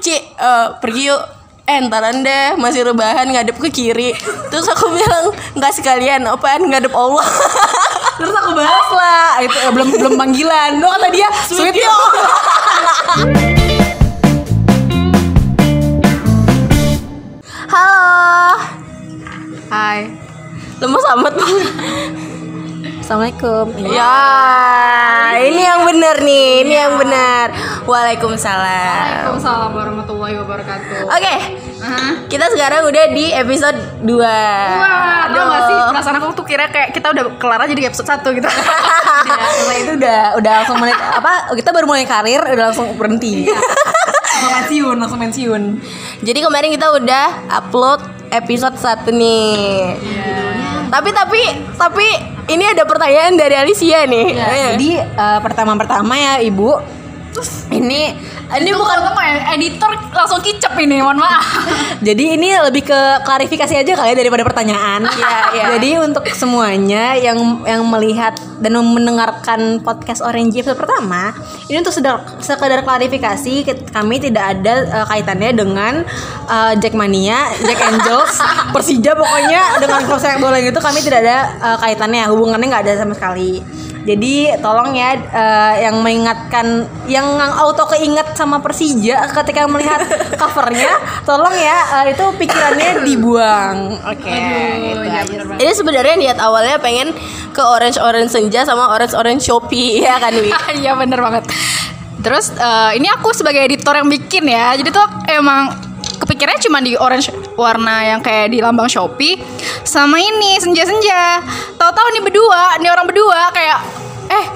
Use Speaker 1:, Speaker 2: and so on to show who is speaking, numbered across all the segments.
Speaker 1: Ci eh, pergi yuk Eh ntaran deh masih rebahan ngadep ke kiri Terus aku bilang nggak sekalian apaan ngadep Allah
Speaker 2: Terus aku bahas lah itu eh, belum belum panggilan. Lo kata dia sweet yo.
Speaker 1: Halo
Speaker 2: Hai.
Speaker 1: Lemes amat
Speaker 2: Assalamualaikum.
Speaker 1: Ya ini yang bener nih Ini yang bener Waalaikumsalam
Speaker 2: Waalaikumsalam warahmatullahi wabarakatuh.
Speaker 1: Oke Kita sekarang udah di episode 2
Speaker 2: Wah, tau gak sih perasaan aku tuh kira kayak kita udah kelar aja di episode 1 gitu
Speaker 3: Setelah Nah, itu udah udah langsung mulai apa kita baru mulai karir udah langsung berhenti.
Speaker 2: Langsung pensiun, langsung pensiun
Speaker 1: Iya. Jadi kemarin kita udah upload episode 1 nih.
Speaker 3: Iya.
Speaker 1: Tapi tapi tapi ini ada pertanyaan dari Alicia nih. Eh.
Speaker 3: Jadi eh, pertama-pertama ya Ibu ini
Speaker 2: Ini bukan apa ya, editor langsung kicep ini, mohon maaf
Speaker 3: jadi ini lebih ke klarifikasi aja kali ya daripada pertanyaan.
Speaker 1: Iya, iya.
Speaker 3: Jadi untuk semuanya yang yang melihat dan mendengarkan podcast Orange episode pertama, ini untuk sedar, sekedar klarifikasi ke- kami tidak ada eh, kaitannya dengan eh, Jackmania, Jack Angels, Persija pokoknya dengan klub sepak bola itu gitu kami tidak ada eh, kaitannya, hubungannya nggak ada sama sekali. Jadi tolong ya eh, yang mengingatkan yang auto keinget sama Persija ketika melihat covernya, tolong ya eh, itu pikirannya dibuang. Oke. gitu aja.
Speaker 1: Ini sebenarnya niat awalnya pengen ke Orange Orange Senja sama Orange Orange Shopee ya kan Wi.
Speaker 2: Iya bener banget Terus eh, ini aku sebagai editor yang bikin ya Jadi tuh emang kepikirannya cuma di orange warna yang kayak di lambang Shopee Sama ini senja-senja Tahu-tahu nih berdua, nih orang berdua kayak Eh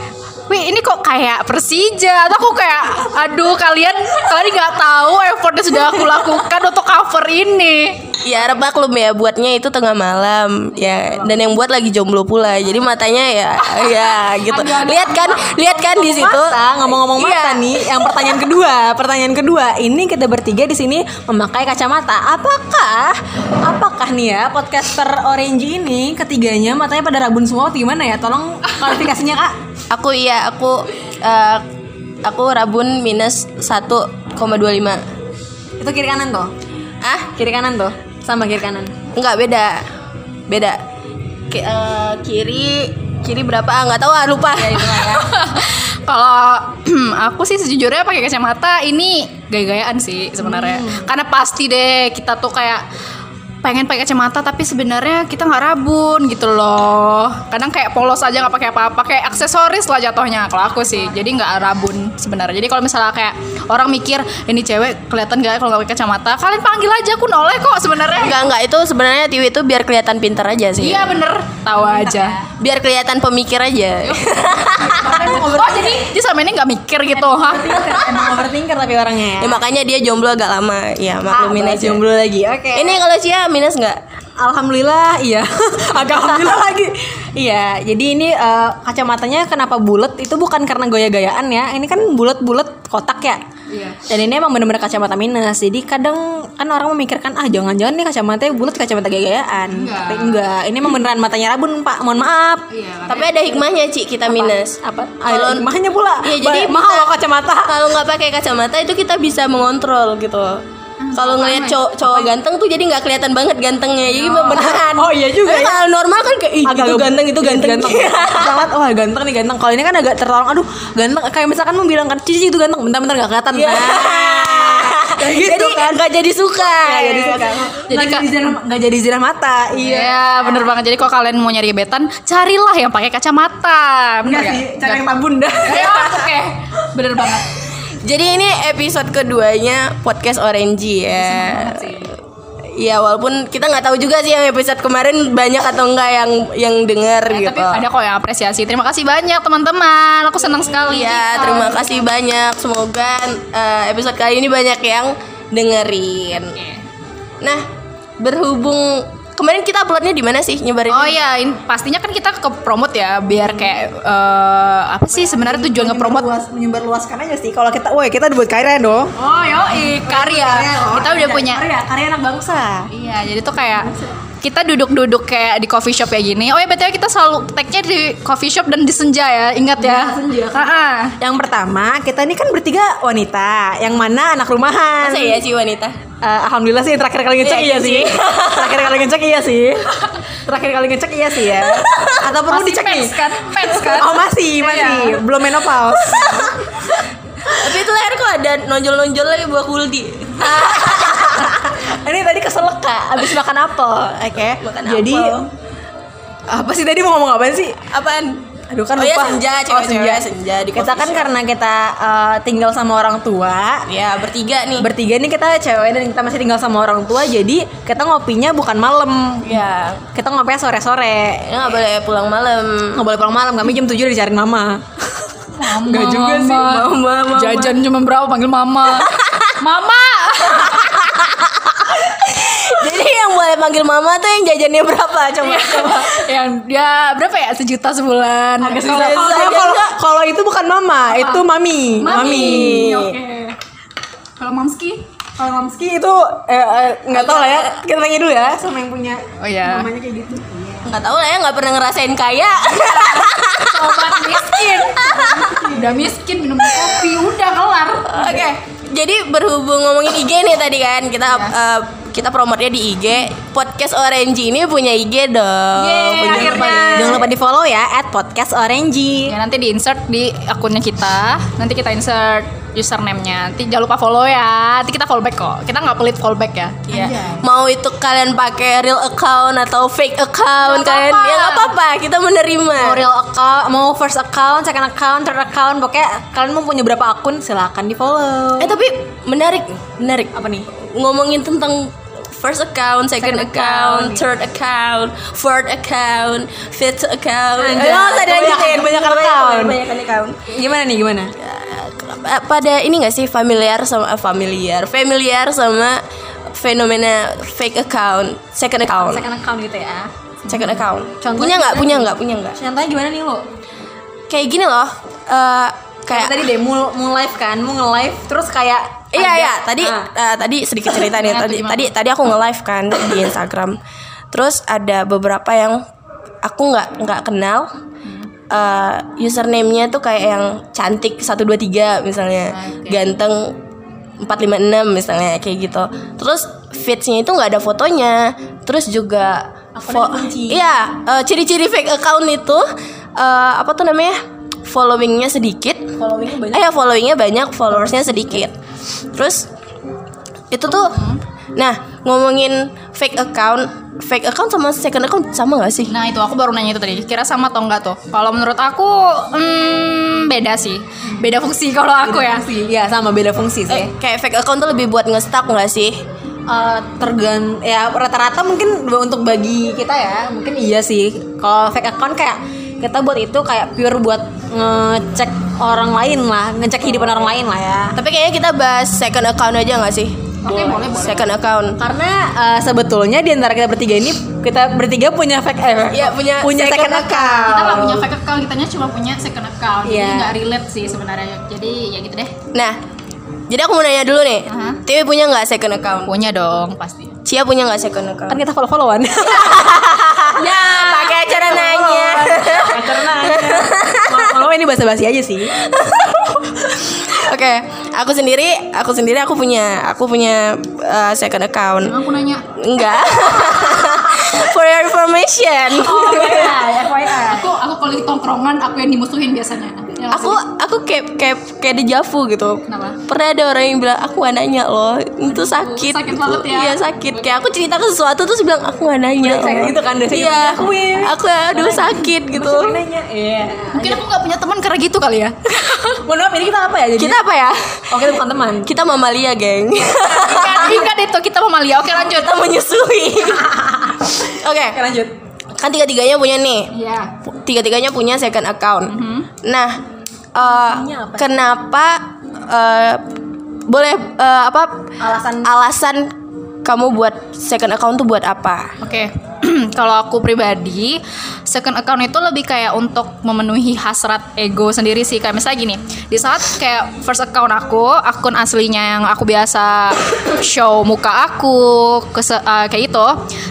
Speaker 2: Wih ini kok kayak Persija Atau aku kayak Aduh kalian Kalian nggak tahu effortnya sudah aku lakukan Untuk cover ini
Speaker 1: Ya Arab maklum ya buatnya itu tengah malam ya dan yang buat lagi jomblo pula. Jadi matanya ya ya gitu. Lihat kan lihat kan di situ.
Speaker 3: Mata, ngomong-ngomong mata
Speaker 1: Iya.
Speaker 3: nih, yang pertanyaan kedua, pertanyaan kedua, ini kita bertiga di sini memakai kacamata. Apakah, apakah nih ya podcaster Orange ini ketiganya matanya pada rabun semua? atau Gimana ya? Tolong klarifikasinya kak.
Speaker 1: Aku iya aku eh, aku rabun minus 1,25.
Speaker 3: Itu kiri kanan tuh,
Speaker 1: Ah,
Speaker 3: kiri kanan tuh, sama kiri kanan.
Speaker 1: Enggak beda. Beda. Ki- eh, kiri kiri berapa? Ah, Enggak tahu ah, lupa.
Speaker 3: Iya, ya.
Speaker 2: Kalau aku sih sejujurnya pakai kacamata ini gaya-gayaan sih sebenarnya. Karena pasti deh kita tuh kayak pengen pakai kacamata tapi sebenarnya kita nggak rabun gitu loh. Kadang kayak polos aja nggak pakai apa-apa, kayak aksesoris lah jatuhnya kalau aku sih. Jadi nggak rabun sebenarnya. Jadi kalau misalnya kayak orang mikir ini cewek kelihatan gak ya kalau nggak pakai kacamata, kalian panggil aja aku noleh kok sebenarnya.
Speaker 1: Enggak, enggak itu sebenarnya Tiwi itu biar kelihatan pinter aja sih.
Speaker 2: Iya bener, tahu aja.
Speaker 1: Biar kelihatan pemikir aja.
Speaker 3: Iya.
Speaker 2: Oh jadi dia selama ini nggak mikir gitu, hah?
Speaker 3: Emang overthinker tapi orangnya ya.
Speaker 1: ya makanya dia jomblo agak lama. Ya, maklumin
Speaker 3: Ah,
Speaker 1: aja.
Speaker 3: jomblo lagi. Oke.
Speaker 1: Ini kalau Cia minus enggak?
Speaker 3: Alhamdulillah, iya. Agak alhamdulillah lagi. Iya, jadi ini eh, kacamatanya kenapa bulat itu bukan karena gaya-gayaan ya. Ini kan bulat-bulat kotak ya.
Speaker 2: Iya.
Speaker 3: Dan ini emang bener-bener kacamata minus. Jadi kadang kan orang memikirkan ah jangan-jangan nih kacamatanya bulat kacamata gaya-gayaan.
Speaker 2: Enggak.
Speaker 3: Tapi enggak. Ini emang beneran matanya rabun, Pak. Mohon maaf.
Speaker 2: Iya,
Speaker 1: Tapi ada hikmahnya, Ci, kita minus.
Speaker 3: Apa?
Speaker 1: Kalau-
Speaker 3: Kalau mahnya pula.
Speaker 1: Iya, jadi
Speaker 3: Ba- mahal
Speaker 1: kita-
Speaker 3: loh kacamata.
Speaker 1: Kalau nggak pakai kacamata itu kita bisa mengontrol gitu.
Speaker 2: Ah,
Speaker 1: Kalau
Speaker 2: ya?
Speaker 1: ngelihat cowok, cowok ganteng tuh jadi nggak kelihatan banget gantengnya. Jadi beneran.
Speaker 3: Oh, iya juga
Speaker 1: Karena
Speaker 3: ya.
Speaker 1: Kalau normal kan kayak "Ih, itu
Speaker 3: agak-
Speaker 1: ganteng itu ganteng.
Speaker 3: ganteng banget wah ganteng nih ganteng kalau ini kan agak tertolong aduh ganteng kayak misalkan membilangkan cici itu ganteng bentar-bentar gak kelihatan
Speaker 1: Iya.
Speaker 3: Kayak gitu
Speaker 1: jadi
Speaker 3: kan.
Speaker 1: nggak jadi suka.
Speaker 3: Gak jadi suka
Speaker 2: Jadi
Speaker 3: jadi
Speaker 2: ka-
Speaker 3: nggak jadi zirah mata iya
Speaker 2: Iya, bener banget. Jadi kalau kalian mau nyari gebetan, carilah yang pakai kacamata.
Speaker 1: Iya
Speaker 2: Bener
Speaker 3: Enggak
Speaker 2: gak?
Speaker 3: sih, cara yang Pak Bunda.
Speaker 2: Ayo, Iya, oke. Bener banget.
Speaker 1: Jadi ini episode keduanya podcast Orange ya. Iya walaupun kita nggak tahu juga sih yang episode kemarin banyak atau enggak yang yang dengar
Speaker 2: Eh,
Speaker 1: gitu.
Speaker 2: Tapi ada kok yang apresiasi. Terima kasih banyak teman-teman. Aku senang sekali.
Speaker 1: Iya, terima kasih banyak. Semoga eh, episode kali ini banyak yang dengerin. Nah, berhubung kemarin kita uploadnya di mana sih nyebarin?
Speaker 2: Oh iya, in- pastinya kan kita ke promote ya biar kayak eh, apa sih sebenarnya tujuan nge-promote
Speaker 3: luas menyebar luaskan aja sih kalau kita woi kita buat karya dong
Speaker 2: Oh, yo, karya. Kita udah punya.
Speaker 3: karya karya anak bangsa
Speaker 2: Iya, jadi tuh kayak kita duduk-duduk kayak di coffee shop kayak gini. Oh ya btw kita selalu tagnya di coffee shop dan di senja ya, ingat ya.
Speaker 3: senja.
Speaker 2: Ah-ah.
Speaker 3: Yang pertama, kita ini kan bertiga wanita, yang mana anak rumahan.
Speaker 1: Masa ya sih wanita?
Speaker 3: Eh, alhamdulillah sih terakhir kali ngecek iya,
Speaker 1: Iya, iya
Speaker 3: sih.
Speaker 1: sih.
Speaker 3: terakhir kali ngecek iya sih. Terakhir kali ngecek iya sih ya. Atau perlu
Speaker 2: Masih
Speaker 3: dicek nih?
Speaker 2: pens kan? Pens kan?
Speaker 3: Oh masih, masih.
Speaker 2: Iya.
Speaker 3: Belum menopause.
Speaker 1: Tapi itu leher kok ada nonjol-nonjol lagi buah kuldi.
Speaker 3: Ini tadi keselak kak, abis makan apel, oke?
Speaker 1: Makan
Speaker 3: Jadi
Speaker 1: apel.
Speaker 3: apa sih tadi mau ngomong apa sih?
Speaker 1: Apaan?
Speaker 3: Aduh kan
Speaker 1: Oh
Speaker 3: lupa.
Speaker 1: iya, senja,
Speaker 3: oh,
Speaker 1: cewek-cewek,
Speaker 3: senja.
Speaker 1: senja di
Speaker 3: kita
Speaker 1: coffee
Speaker 3: kan
Speaker 1: shop.
Speaker 3: karena kita eh, tinggal sama orang tua,
Speaker 1: Ya bertiga nih.
Speaker 3: bertiga nih kita cewek dan kita masih tinggal sama orang tua, jadi kita ngopinya bukan malam.
Speaker 1: ya.
Speaker 3: Kita ngopinya sore-sore.
Speaker 1: Ya nggak boleh pulang malam.
Speaker 3: Nggak boleh pulang malam, kami jam 7 udah dicariin mama.
Speaker 2: Mama,
Speaker 3: Nggak Ah, juga sih,
Speaker 1: mama, mama.
Speaker 2: Jajan cuma berapa panggil mama. mama.
Speaker 1: Jadi yang boleh panggil mama tuh yang jajannya berapa coba?
Speaker 3: Iya.
Speaker 1: coba.
Speaker 2: yang dia berapa ya? Sejuta sebulan.
Speaker 3: Agak
Speaker 2: Kalau-
Speaker 3: susah.
Speaker 2: kalau-
Speaker 3: Kalau-
Speaker 2: kalau-
Speaker 3: kalau kalau itu bukan mama, itu mami.
Speaker 2: Mami. Oke. Kalau Mamski?
Speaker 3: Kalau Mamski itu eh, eh, nggak tahu lah ya. Kita tanya dulu ya sama yang punya
Speaker 2: Oh ya.
Speaker 3: mamanya kayak gitu.
Speaker 1: Nggak tahu lah ya nggak pernah ngerasain kaya.
Speaker 3: Iya.
Speaker 2: Sobat miskin. Udah miskin minum kopi, udah kelar.
Speaker 1: Oke. Jadi berhubung ngomongin IG nih tadi kan kita
Speaker 3: Iya.
Speaker 1: eh, kita promotnya di IG. Podcast Orange ini punya IG dong.
Speaker 2: Yeay,
Speaker 1: Punya-
Speaker 2: akhirnya.
Speaker 3: Jangan lupa di follow ya at podcast orange.
Speaker 1: Iya.
Speaker 2: Ya nanti di insert di akunnya kita. Nanti kita insert username-nya. Nanti jangan lupa follow ya. Nanti kita fallback kok. Kita nggak pelit fallback ya.
Speaker 1: Iya. Mau itu kalian pakai real account atau fake account
Speaker 2: Nggak
Speaker 1: kalian
Speaker 2: apa-apa.
Speaker 1: ya nggak apa-apa kita menerima.
Speaker 3: Mau real account, mau first account, second account, third account, pokoknya kalian mau punya berapa akun silakan di follow.
Speaker 1: Eh tapi menarik, menarik.
Speaker 3: Apa nih?
Speaker 1: Ngomongin tentang first account, second,
Speaker 2: Second
Speaker 1: account,
Speaker 2: account,
Speaker 3: iya.
Speaker 1: third account, fourth account, fifth account.
Speaker 3: Anjay.
Speaker 1: Ayo, tadi lanjutin.
Speaker 3: Banyak- banyak account.
Speaker 1: Banyak account.
Speaker 3: Gimana nih gimana?
Speaker 1: Eh, Pada ini gak sih familiar sama eh, familiar, familiar sama fenomena fake account, second account,
Speaker 3: Second account gitu ya.
Speaker 1: second account.
Speaker 3: Contohnya
Speaker 1: punya nggak?
Speaker 3: gimana
Speaker 1: Punya
Speaker 3: nih?
Speaker 1: nggak? Punya nggak?
Speaker 3: Contohnya gimana nih lo?
Speaker 1: Kayak gini loh. eh, kayak
Speaker 3: tadi deh mau mau live kan, mau nge-live terus kayak
Speaker 1: Iya
Speaker 3: ada-
Speaker 1: iya tadi
Speaker 3: Ah.
Speaker 1: eh, tadi sedikit cerita nih
Speaker 2: Gimana tuh,
Speaker 1: tadi
Speaker 2: gimana?
Speaker 1: tadi tadi aku nge-live kan di Instagram. Terus ada beberapa yang aku nggak nggak kenal. Eh, username-nya tuh kayak yang cantik 123 misalnya,
Speaker 2: Oke.
Speaker 1: ganteng 456 misalnya kayak gitu. Terus feeds-nya itu nggak ada fotonya. Terus juga fo- Iya, eh, ciri-ciri fake account itu eh, apa tuh namanya? Followingnya sedikit,
Speaker 3: followingnya banyak.
Speaker 1: Eh ya, followingnya banyak, followersnya sedikit. Terus itu tuh, nah ngomongin fake account, fake account sama second account sama gak sih?
Speaker 2: Nah itu aku baru nanya itu tadi Kira sama atau enggak tuh Kalau menurut aku hmm, Beda sih Beda fungsi kalau aku ya
Speaker 3: Iya sama beda fungsi sih.
Speaker 1: Eh, kayak fake account tuh lebih buat nge-stalk gak sih?
Speaker 3: Eh, tergan ya rata-rata mungkin untuk bagi kita ya mungkin iya sih kalau fake account kayak kita buat itu kayak pure buat ngecek orang lain lah ngecek kehidupan orang lain lah ya
Speaker 1: Tapi kayaknya kita bahas second account aja gak sih?
Speaker 2: Oke boleh boleh
Speaker 1: Second account.
Speaker 3: karena eh, sebetulnya di antara kita bertiga ini kita bertiga punya fake eh,
Speaker 1: Iya, punya
Speaker 3: punya second,
Speaker 1: second
Speaker 3: account,
Speaker 2: Kita nggak punya fake account Kitanya cuma punya second account Jadi
Speaker 3: Iya.
Speaker 2: nggak relate sih sebenarnya Jadi ya gitu deh
Speaker 1: Nah, jadi aku mau nanya dulu nih,
Speaker 2: Aha.
Speaker 1: Tiwi punya nggak second account?
Speaker 2: Punya dong pasti
Speaker 1: Cia punya nggak second
Speaker 3: kan
Speaker 1: account?
Speaker 3: kita follow followan
Speaker 1: Ya, pakai acara nanya.
Speaker 3: karena follow ini bahasa basi aja sih
Speaker 1: Oke, aku sendiri, aku sendiri aku punya, aku punya uh, second account.
Speaker 2: Emang aku nanya
Speaker 1: Enggak. For your information.
Speaker 3: Ah,
Speaker 2: Aku aku kalau di tongkrongan Aku yang dimusuhin biasanya Ya,
Speaker 1: Aku aku kayak kayak kayak di Javu gitu.
Speaker 2: Kenapa?
Speaker 1: Pernah ada orang yang bilang aku gak nanya loh, itu sakit.
Speaker 2: sakit
Speaker 1: gitu.
Speaker 2: banget ya.
Speaker 1: Iya sakit. Kayak aku cerita ke sesuatu terus bilang aku gak nanya.
Speaker 3: Kayak
Speaker 1: loh."
Speaker 3: gitu kan biasanya
Speaker 1: Iya.
Speaker 3: gitu. Aku, "Wih,
Speaker 1: Aku aduh sakit gitu.
Speaker 3: Siapa yang nanya iya
Speaker 2: Mungkin aku nggak punya teman karena gitu kali ya
Speaker 3: mohon maaf ini kita apa ya jadi
Speaker 1: Kita apa ya?
Speaker 3: oke kita bukan teman
Speaker 1: Kita mamalia, geng.
Speaker 2: Ingat ingat itu kita mamalia Oke lanjut
Speaker 1: Kita menyusui. Oke,
Speaker 3: oke lanjut
Speaker 1: kan tiga-tiganya punya nih.
Speaker 2: Iya
Speaker 1: tiga-tiganya punya second account. Nah, eh,
Speaker 3: Fungsinya apa?
Speaker 1: kenapa eh, boleh eh, apa
Speaker 3: Alasan-
Speaker 1: alasan kamu buat second account tuh buat apa?
Speaker 2: Oke, kalau aku pribadi, second account itu lebih kayak untuk memenuhi hasrat ego sendiri sih. Kayak misalnya gini, di saat kayak first account aku, akun aslinya yang aku biasa show muka aku, kese- eh, kayak gitu.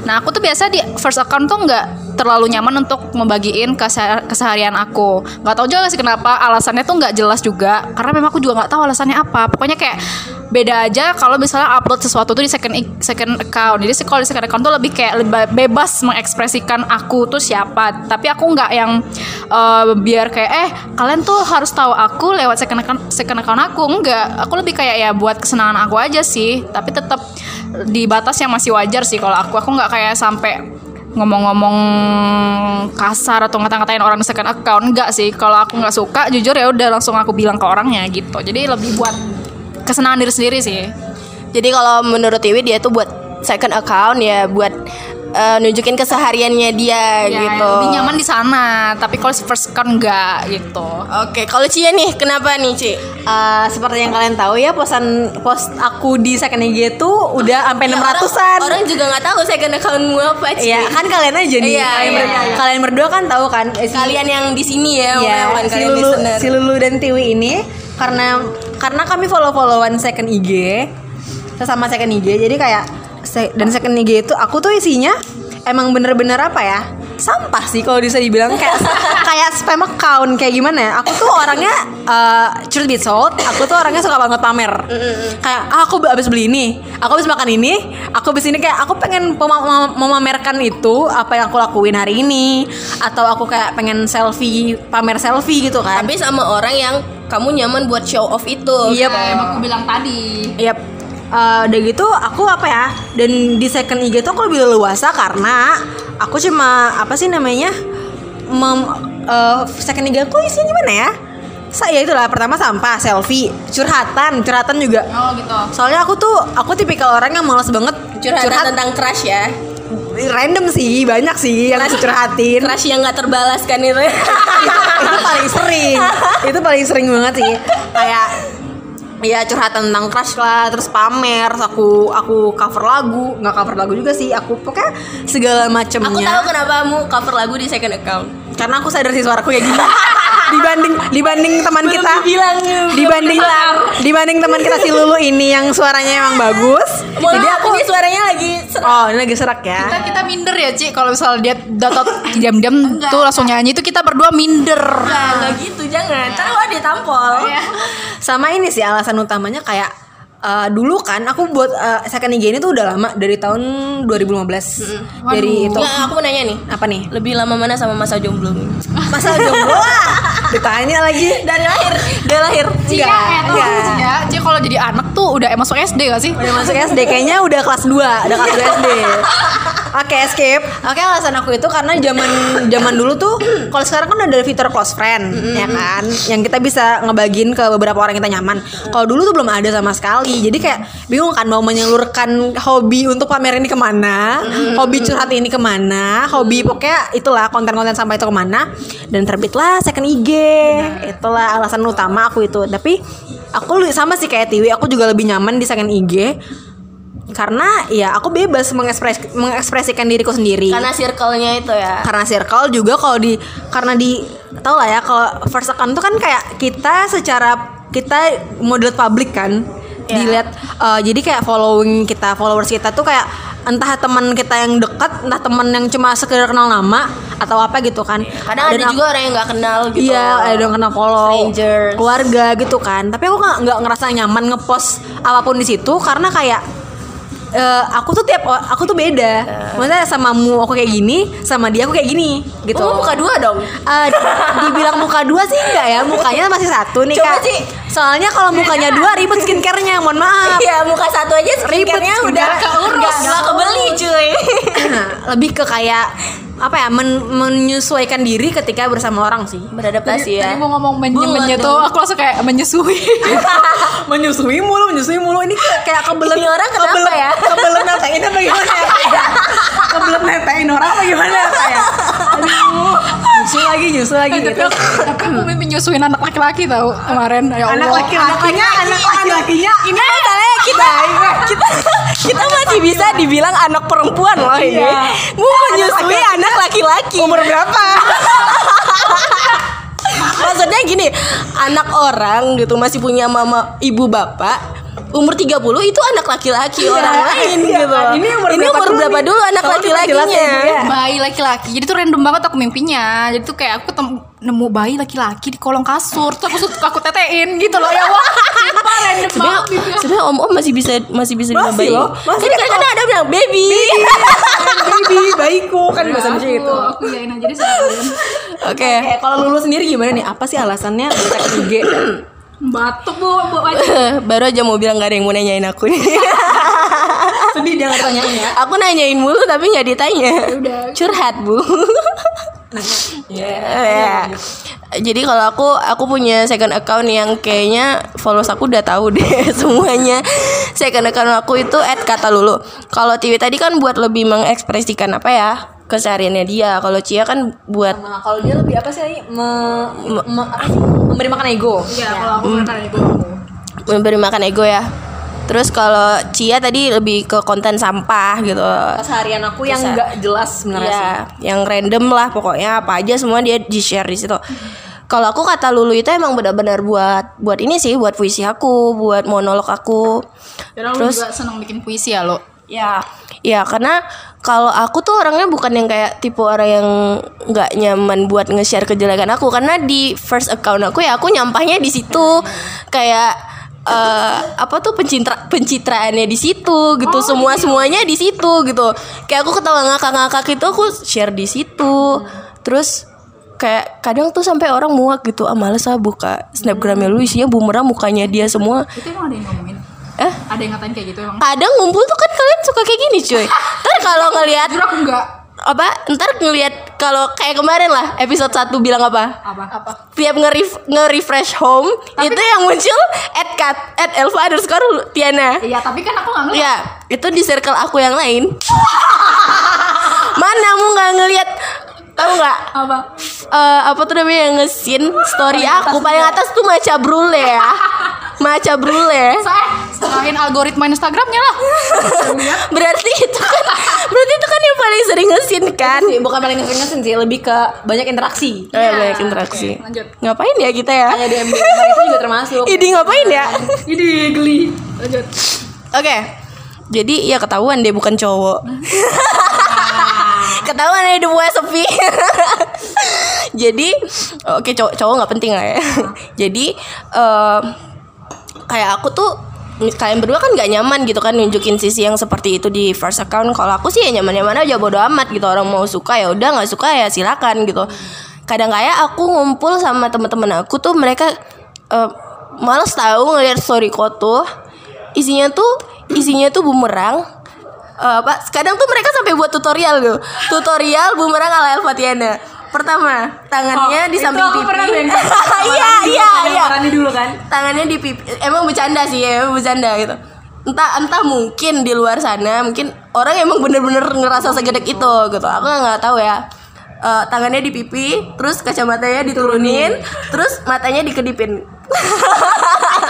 Speaker 2: Nah, aku tuh biasa di first account tuh nggak terlalu nyaman untuk membagiin kese- keseharian aku. Nggak tahu juga sih kenapa alasannya tuh nggak jelas juga. Karena memang aku juga nggak tahu alasannya apa. Pokoknya kayak beda aja kalau misalnya upload sesuatu tuh di second second account. Jadi sih kalau di second account tuh lebih kayak leba- bebas mengekspresikan aku tuh siapa. Tapi aku nggak yang eh, biar kayak eh kalian tuh harus tahu aku lewat second account second account aku. Enggak, aku lebih kayak ya buat kesenangan aku aja sih. Tapi tetap di batas yang masih wajar sih kalau aku. Aku nggak kayak sampai ngomong-ngomong kasar atau ngata-ngatain orang di second account enggak sih kalau aku nggak suka jujur ya udah langsung aku bilang ke orangnya gitu jadi lebih buat kesenangan diri sendiri sih
Speaker 1: Jadi kalau menurut Iwi dia tuh buat second account ya buat eh, nunjukin kesehariannya dia
Speaker 2: ya,
Speaker 1: gitu.
Speaker 2: lebih nyaman di sana tapi kalau first account enggak gitu
Speaker 1: Oke, kalau Cia nih kenapa nih, Ci?
Speaker 3: Eh, seperti yang kalian tahu ya posan post aku di second IG itu udah sampai 600-an.
Speaker 1: Orang, orang juga nggak tahu second account gue apa, Ci.
Speaker 3: Iya, kan kalian aja nih.
Speaker 1: Iya,
Speaker 3: kalian,
Speaker 1: iya,
Speaker 3: berdua,
Speaker 1: iya.
Speaker 3: kalian berdua kan tahu kan eh, si-
Speaker 1: Kalian yang di sini ya,
Speaker 3: ya,
Speaker 1: bukan
Speaker 3: si
Speaker 1: kalian
Speaker 3: Lulu,
Speaker 1: listener.
Speaker 3: si Lulu dan Tiwi ini karena karena kami follow-followan second IG sesama second IG jadi kayak se- dan second IG itu aku tuh isinya emang bener-bener apa ya sampah sih kalau bisa dibilang kayak kayak spam account kayak gimana ya aku tuh orangnya eh, truth be told aku tuh orangnya suka banget pamer kayak "Ah, aku habis beli ini aku habis makan ini aku habis ini kayak aku pengen pema- mem- memamerkan itu apa yang aku lakuin hari ini atau aku kayak pengen selfie pamer selfie gitu kan
Speaker 1: Tapi sama orang yang kamu nyaman buat show off itu.
Speaker 3: Iya,
Speaker 2: Kayak yang aku bilang tadi
Speaker 3: Yap. Eh, udah gitu aku apa ya dan di second IG tuh aku lebih leluasa karena aku cuma apa sih namanya mem eh, second IG aku isinya gimana ya saya itulah pertama sampah selfie curhatan curhatan juga
Speaker 2: oh gitu
Speaker 3: soalnya aku tuh aku tipikal orang yang malas banget
Speaker 1: Curhat,
Speaker 3: curhat
Speaker 1: tentang crush ya.
Speaker 3: random sih banyak sih yang aku curhatin
Speaker 1: Crush yang nggak terbalaskan itu.
Speaker 3: Iya. itu paling sering itu paling sering banget sih kayak ya curhatan tentang crush lah terus pamer terus aku aku cover lagu nggak cover lagu juga sih aku pokoknya segala macemnya
Speaker 1: Aku tahu kenapa kamu cover lagu di second account.
Speaker 3: karena aku sadar sih suaraku kayak gini dibanding dibanding teman kita dibanding dibanding teman kita si Lulu ini yang suaranya emang bagus
Speaker 1: Mohon
Speaker 3: jadi
Speaker 1: maaf,
Speaker 3: aku
Speaker 1: ini suaranya lagi serak.
Speaker 3: oh ini lagi serak ya
Speaker 2: kita kita minder ya Ci kalau misalnya dia datot diam-diam tuh langsung nyanyi itu kita berdua minder
Speaker 1: Enggak, enggak gitu, jangan.
Speaker 3: Iya.
Speaker 1: Ntar gua ditampol.
Speaker 3: sama ini sih alasan utamanya kayak eh, dulu kan aku buat eh, second IG ini tuh udah lama dari tahun 2015 dari itu
Speaker 1: Enggak, aku mau nanya nih.
Speaker 3: apa nih
Speaker 1: Lebih lama mana sama masa jomblo nih?
Speaker 3: masa jomblo lah. ditanya lagi
Speaker 1: Dari lahir, dari lahir.
Speaker 2: Cia,
Speaker 1: ya,
Speaker 3: Enggak,
Speaker 2: eh, tau
Speaker 1: iya.
Speaker 3: enggak.
Speaker 2: gak sih, Cia? Cia kalau jadi anak tuh udah masuk SD gak sih?
Speaker 3: udah masuk SD kayaknya udah kelas 2 udah kelas 2 SD Oke skip. Oke alasan aku itu karena zaman zaman dulu tuh kalau sekarang kan ada fitur close friend ya kan yang kita bisa ngebagiin ke beberapa orang kita nyaman. Kalau dulu tuh belum ada sama sekali. Jadi kayak bingung kan mau menyalurkan hobi untuk pamer ini kemana, hobi curhat ini kemana, hobi pokoknya itulah konten-konten sampai itu kemana dan terbitlah second IG. Itulah alasan utama aku itu. Tapi aku lu- sama sih kayak Tiwi, aku juga lebih nyaman di second IG karena ya aku bebas mengekspres- mengekspresikan diriku sendiri karena,
Speaker 1: Karena circle-nya itu ya.
Speaker 3: circle juga kalau di karena di tau lah ya kalau first account itu kan kayak kita secara kita model publik kan
Speaker 1: Ya.
Speaker 3: dilihat eh, jadi kayak following kita followers kita tuh kayak entah teman kita yang dekat entah teman yang cuma sekedar kenal nama atau apa gitu kan
Speaker 1: Kadang ada
Speaker 3: Dan aku-
Speaker 1: juga orang yang nggak kenal gitu.
Speaker 3: Iya, ada yang kena follow
Speaker 1: Strangers.
Speaker 3: keluarga gitu kan. Tapi aku nggak nggak ngerasa nyaman ngepost apapun di situ karena kayak eh, aku tuh tiap o- aku tuh
Speaker 1: Eh.
Speaker 3: beda. Maksudnya sama mu aku kayak gini, sama dia aku kayak gini gitu.
Speaker 1: Oh, muka dua dong.
Speaker 3: Eh, dibilang muka dua sih enggak ya mukanya masih satu nih
Speaker 1: Coba
Speaker 3: kak
Speaker 1: sih.
Speaker 3: soalnya kalau mukanya dua ribet skincarenya mohon maaf
Speaker 1: Iya, muka satu aja skincare-nya
Speaker 3: Ribet,
Speaker 1: udah
Speaker 3: nggak keurus.
Speaker 1: nggak- nggak kebeli, cuy.
Speaker 3: lebih ke kayak apa ya men- menyesuaikan diri ketika bersama orang sih
Speaker 1: Beradaptasi ya.
Speaker 2: Tadi mau ngomong menye-menye
Speaker 1: Bulat
Speaker 2: tuh
Speaker 1: dong.
Speaker 2: aku langsung kayak menyusui
Speaker 3: menyusui mulu menyusui mulu ini kayak kayak kebelet
Speaker 1: Ini orang kenapa
Speaker 3: kebelet,
Speaker 1: ya?
Speaker 3: kebelet netain apa gimana ya kebelet netain orang apa gimana ya Kak ya? aduh nyusul lagi nyusul lagi
Speaker 2: Tapi
Speaker 3: gitu
Speaker 2: aku, tapi aku menyusuin anak laki-laki tau kemarin ya
Speaker 3: anak
Speaker 2: Allah.
Speaker 1: kan
Speaker 3: laki-lakinya anak laki-lakinya ini masalahnya kita kita kita mah
Speaker 1: masih bisa dibilang anak perempuan loh ini.
Speaker 3: Iya.
Speaker 1: Gue menyusui anak laki-laki.
Speaker 3: Oh,
Speaker 1: Umur berapa? Maksudnya gini, anak orang gitu masih punya mama ibu bapak umur 30 itu anak laki-laki orang lain
Speaker 3: iya,
Speaker 1: gitu.
Speaker 3: kan. Ini umur berapa dulu
Speaker 1: berapa
Speaker 3: nih?
Speaker 1: dulu anak
Speaker 3: Tolong kita
Speaker 1: laki-lakinya?
Speaker 3: jelasin dulu ya.
Speaker 2: bayi laki-laki jadi tuh random banget aku mimpinya jadi tuh kayak aku ketemu nemu bayi laki-laki di kolong kasur terus aku suka aku tetein gitu loh ya wah sumpah random
Speaker 1: Sebenarnya
Speaker 2: banget mimpinya.
Speaker 1: sebenarnya om-om masih bisa masih bisa bilang
Speaker 3: ya. Masih
Speaker 1: bayi.
Speaker 3: loh, masih
Speaker 1: Jadi kadang-kadang ada bilang baby.
Speaker 3: baby bayiku kan bahasa Indonesia
Speaker 2: aku,
Speaker 3: gitu
Speaker 2: aku yain aja deh sebelum
Speaker 1: Oke.
Speaker 3: Oke, kalau lulu sendiri gimana nih? Apa sih alasannya bisa IG?
Speaker 2: batuk bu bu aja
Speaker 1: Baru aja mau bilang gak ada yang mau nanyain aku nih.
Speaker 3: Sedih dia nggak tanyain ya.
Speaker 1: aku nanyain mulu tapi nggak ditanya.
Speaker 2: Udah.
Speaker 1: Curhat bu.
Speaker 3: Iya.
Speaker 1: Ya. Jadi kalau aku aku punya second account yang kayaknya followers aku udah tahu deh semuanya. Second account aku itu @kata lulu. Kalau TV tadi kan buat lebih mengekspresikan apa ya kesehariannya dia. Kalau Cia kan buat
Speaker 3: Nah, kalau dia lebih apa sih? Ayi? Me- me- apa sih? Memberi makan ego. Nah,
Speaker 2: ya kalau aku makan ibu
Speaker 1: memberi makan ego ya. Terus kalau Cia tadi lebih ke konten sampah gitu.
Speaker 3: Keseharian aku yang
Speaker 1: Bisa.
Speaker 3: nggak jelas sebenarnya. sih.
Speaker 1: Iya, yang random lah pokoknya apa aja semua dia di share di situ. Kalau aku kata Lulu itu emang benar-benar buat buat ini sih, buat puisi aku, buat monolog aku.
Speaker 2: terus juga seneng bikin puisi ya lo
Speaker 1: Ya, ya karena kalau aku tuh orangnya bukan yang kayak tipe orang yang nggak nyaman buat nge-share kejelekan aku karena di first account aku ya aku nyampahnya di situ kayak eh, apa tuh pencintra pencitraannya di situ gitu semua semuanya di situ gitu kayak aku ketawa ngakak-ngakak itu aku share di situ terus kayak kadang tuh sampai orang muak gitu ah males ah buka snapgramnya lu isinya bumerang mukanya dia semua
Speaker 2: itu emang ada yang ngomongin
Speaker 1: eh
Speaker 2: ada yang ngatain kayak gitu emang
Speaker 1: kadang ngumpul tuh kan kalian suka kayak gini cuy ntar kalau ngelihat
Speaker 2: jujur aku enggak
Speaker 1: apa ntar ngelihat kalau kayak kemarin lah episode 1 bilang apa
Speaker 2: apa apa
Speaker 1: tiap nge-ref- nge-refresh home itu yang muncul at kat at elva underscore tiana
Speaker 2: iya tapi kan aku nggak ngeliat
Speaker 1: ya itu di circle aku yang lain mana mu nggak ngelihat tahu nggak
Speaker 2: apa
Speaker 1: eh apa tuh namanya yang ngesin story aku paling atas tuh maca brule ya maca brule
Speaker 2: saya selain algoritma Instagramnya lah
Speaker 1: berarti itu kan berarti itu kan yang paling sering ngesin kan
Speaker 2: Iya.
Speaker 3: Sih, bukan paling ngesin sih, lebih ke banyak interaksi.
Speaker 1: Oh, ya, banyak interaksi.
Speaker 2: Oke, lanjut.
Speaker 1: Ngapain ya kita ya?
Speaker 3: Kayak DM DM itu juga termasuk.
Speaker 1: Ini ngapain ya?
Speaker 2: ini geli lanjut
Speaker 1: Oke. Jadi ya ketahuan deh bukan cowok. ketahuan deh udah buat sepi. Jadi oke cowok cowok nggak penting lah ya. Jadi eh, kayak aku tuh kalian berdua kan nggak nyaman gitu kan nunjukin sisi yang seperti itu di first account kalau aku sih ya nyaman-nyaman aja bodo amat gitu orang mau suka ya udah nggak suka ya silakan gitu kadang kayak aku ngumpul sama temen-temen aku tuh mereka eh, males tahu ngeliat story tuh isinya tuh isinya tuh bumerang Eh, apa kadang tuh mereka sampai buat tutorial loh tutorial bumerang ala Elvatiana pertama tangannya
Speaker 3: Oh,
Speaker 1: di
Speaker 3: itu
Speaker 1: samping
Speaker 3: aku
Speaker 1: pipi
Speaker 3: pernah main.
Speaker 1: iya iya iya
Speaker 3: Makannya dulu kan.
Speaker 1: tangannya di pipi emang bercanda sih ya emang bercanda gitu entah entah mungkin di luar sana mungkin orang emang bener-bener ngerasa segedek itu gitu aku nggak tahu ya Eh, tangannya di pipi terus kacamatanya diturunin terus matanya dikedipin
Speaker 2: itu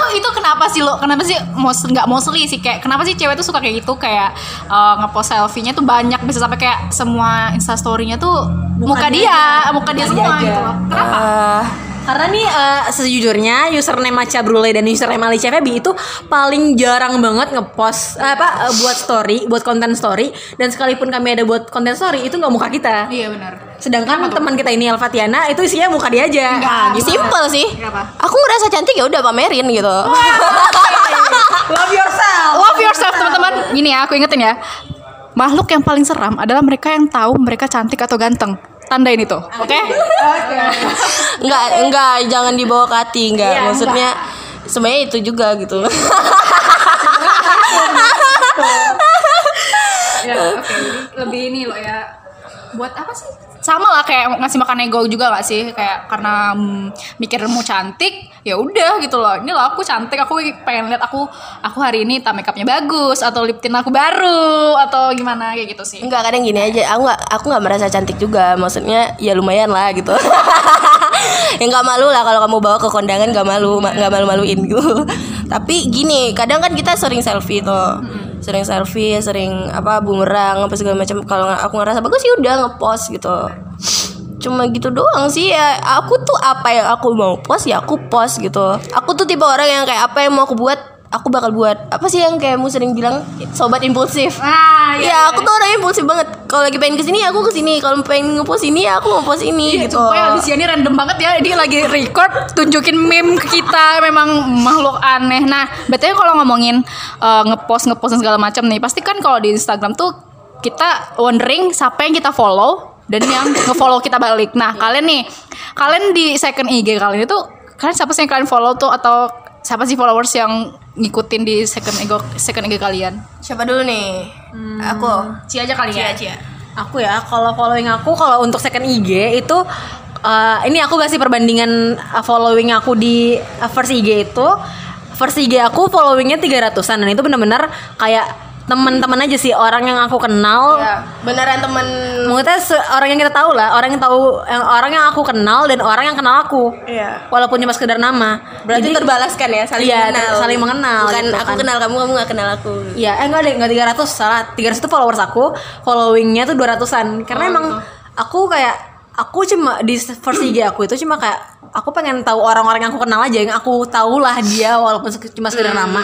Speaker 2: Oh, itu kenapa sih lo kenapa sih mos nggak mostly sih kayak kenapa sih cewek tuh suka kayak gitu kayak eh, ngepost selfie-nya tuh banyak bisa sampai kayak semua instastory-nya tuh muka, dia, muka dia semua
Speaker 3: aja.
Speaker 2: gitu loh. kenapa
Speaker 1: Eh,
Speaker 3: Karena nih eh, sejujurnya username Maca Brule dan username Alicia Febi itu paling jarang banget ngepost eh, apa eh, buat story, buat konten story dan sekalipun kami ada buat konten story itu nggak muka kita.
Speaker 2: iya benar
Speaker 3: Sedangkan teman kita ini Elvatiana itu isinya muka dia aja.
Speaker 2: Enggak.
Speaker 3: Gitu.
Speaker 1: simple sih
Speaker 2: Kenapa?
Speaker 1: aku ngerasa cantik ya udah pamerin gitu
Speaker 3: Love yourself.
Speaker 2: love yourself teman-teman gini ya aku ingetin ya makhluk yang paling seram adalah mereka yang tahu mereka cantik atau ganteng tandain itu oke
Speaker 1: nggak nggak jangan dibawa ke hati nggak
Speaker 3: Iya,
Speaker 1: maksudnya sebenarnya itu juga gitu
Speaker 2: ya oke lebih ini loh ya buat apa sih sama lah kayak ngasih makan ego juga gak sih kayak karena mm, mikir mau cantik ya udah gitu loh ini loh aku cantik aku pengen lihat aku aku hari ini tak makeupnya bagus atau lip tint aku baru atau gimana kayak gitu sih
Speaker 1: Enggak kadang gini aja, aku nggak aku nggak merasa cantik juga, maksudnya ya lumayan lah gitu. yang nggak malu lah kalau kamu bawa ke kondangan nggak malu, ma- nggak malu-maluin gitu. Tapi gini, kadang kan kita sering selfie tuh. sering selfie sering apa bumerang apa segala macam kalau nggak- aku ngerasa bagus ya udah ngepost gitu cuma gitu doang sih ya aku tuh apa yang aku mau post ya aku post gitu aku tuh tipe orang yang kayak apa yang mau aku buat aku bakal buat apa sih yang kayak mu sering bilang sobat impulsif
Speaker 2: Ah,
Speaker 1: Iya, aku tuh orangnya impulsif banget. Kalau lagi pengen kesini, aku kesini. Kalau pengen ngepost ini, aku ngepost ini. gitu.
Speaker 2: Iya, Supaya Alicia ini random banget ya Dia lagi record Tunjukin meme ke kita Memang makhluk aneh Nah betulnya kalau ngomongin eh, Ngepost Ngepost dan segala macam nih Pasti kan kalau di Instagram tuh Kita wondering Siapa yang kita follow Dan yang nge-follow kita balik Nah kalian nih Kalian di second IG kalian itu Kalian siapa sih yang kalian follow tuh Atau siapa sih followers yang ngikutin di second IG second IG kalian?
Speaker 1: Siapa dulu nih? Aku.
Speaker 2: Cia aja kali ya.
Speaker 1: Cia.
Speaker 3: Aku ya, kalau following aku, kalau untuk second IG itu eh, ini aku kasih perbandingan eh, following aku di eh, first IG itu first IG aku followingnya 300-an dan itu bener-bener kayak teman-teman aja sih orang yang aku
Speaker 1: Oh.
Speaker 3: kenal
Speaker 1: Iya. Beneran temen
Speaker 3: maksudnya se- orang yang kita tahu lah orang yang tahu yang orang yang aku kenal dan orang yang kenal aku
Speaker 1: Iya.
Speaker 3: walaupun cuma sekedar nama
Speaker 1: Berarti
Speaker 3: Jadi-
Speaker 1: terbalaskan ya, saling
Speaker 3: Iya,
Speaker 1: mengenal.
Speaker 3: saling mengenal
Speaker 1: Bukan
Speaker 3: gitu
Speaker 1: aku
Speaker 3: kan.
Speaker 1: kenal kamu, kamu gak kenal aku.
Speaker 3: Iya, eh enggak deh, enggak 300 salah. 300 itu followers aku, followingnya tuh 200-an. Karena
Speaker 1: Oh,
Speaker 3: emang
Speaker 1: gitu.
Speaker 3: aku kayak aku cuma di first IG aku itu cuma kayak aku pengen tahu orang-orang yang aku kenal aja yang aku tahulah dia walaupun sek- cuma sekedar
Speaker 1: Hmm,
Speaker 3: nama.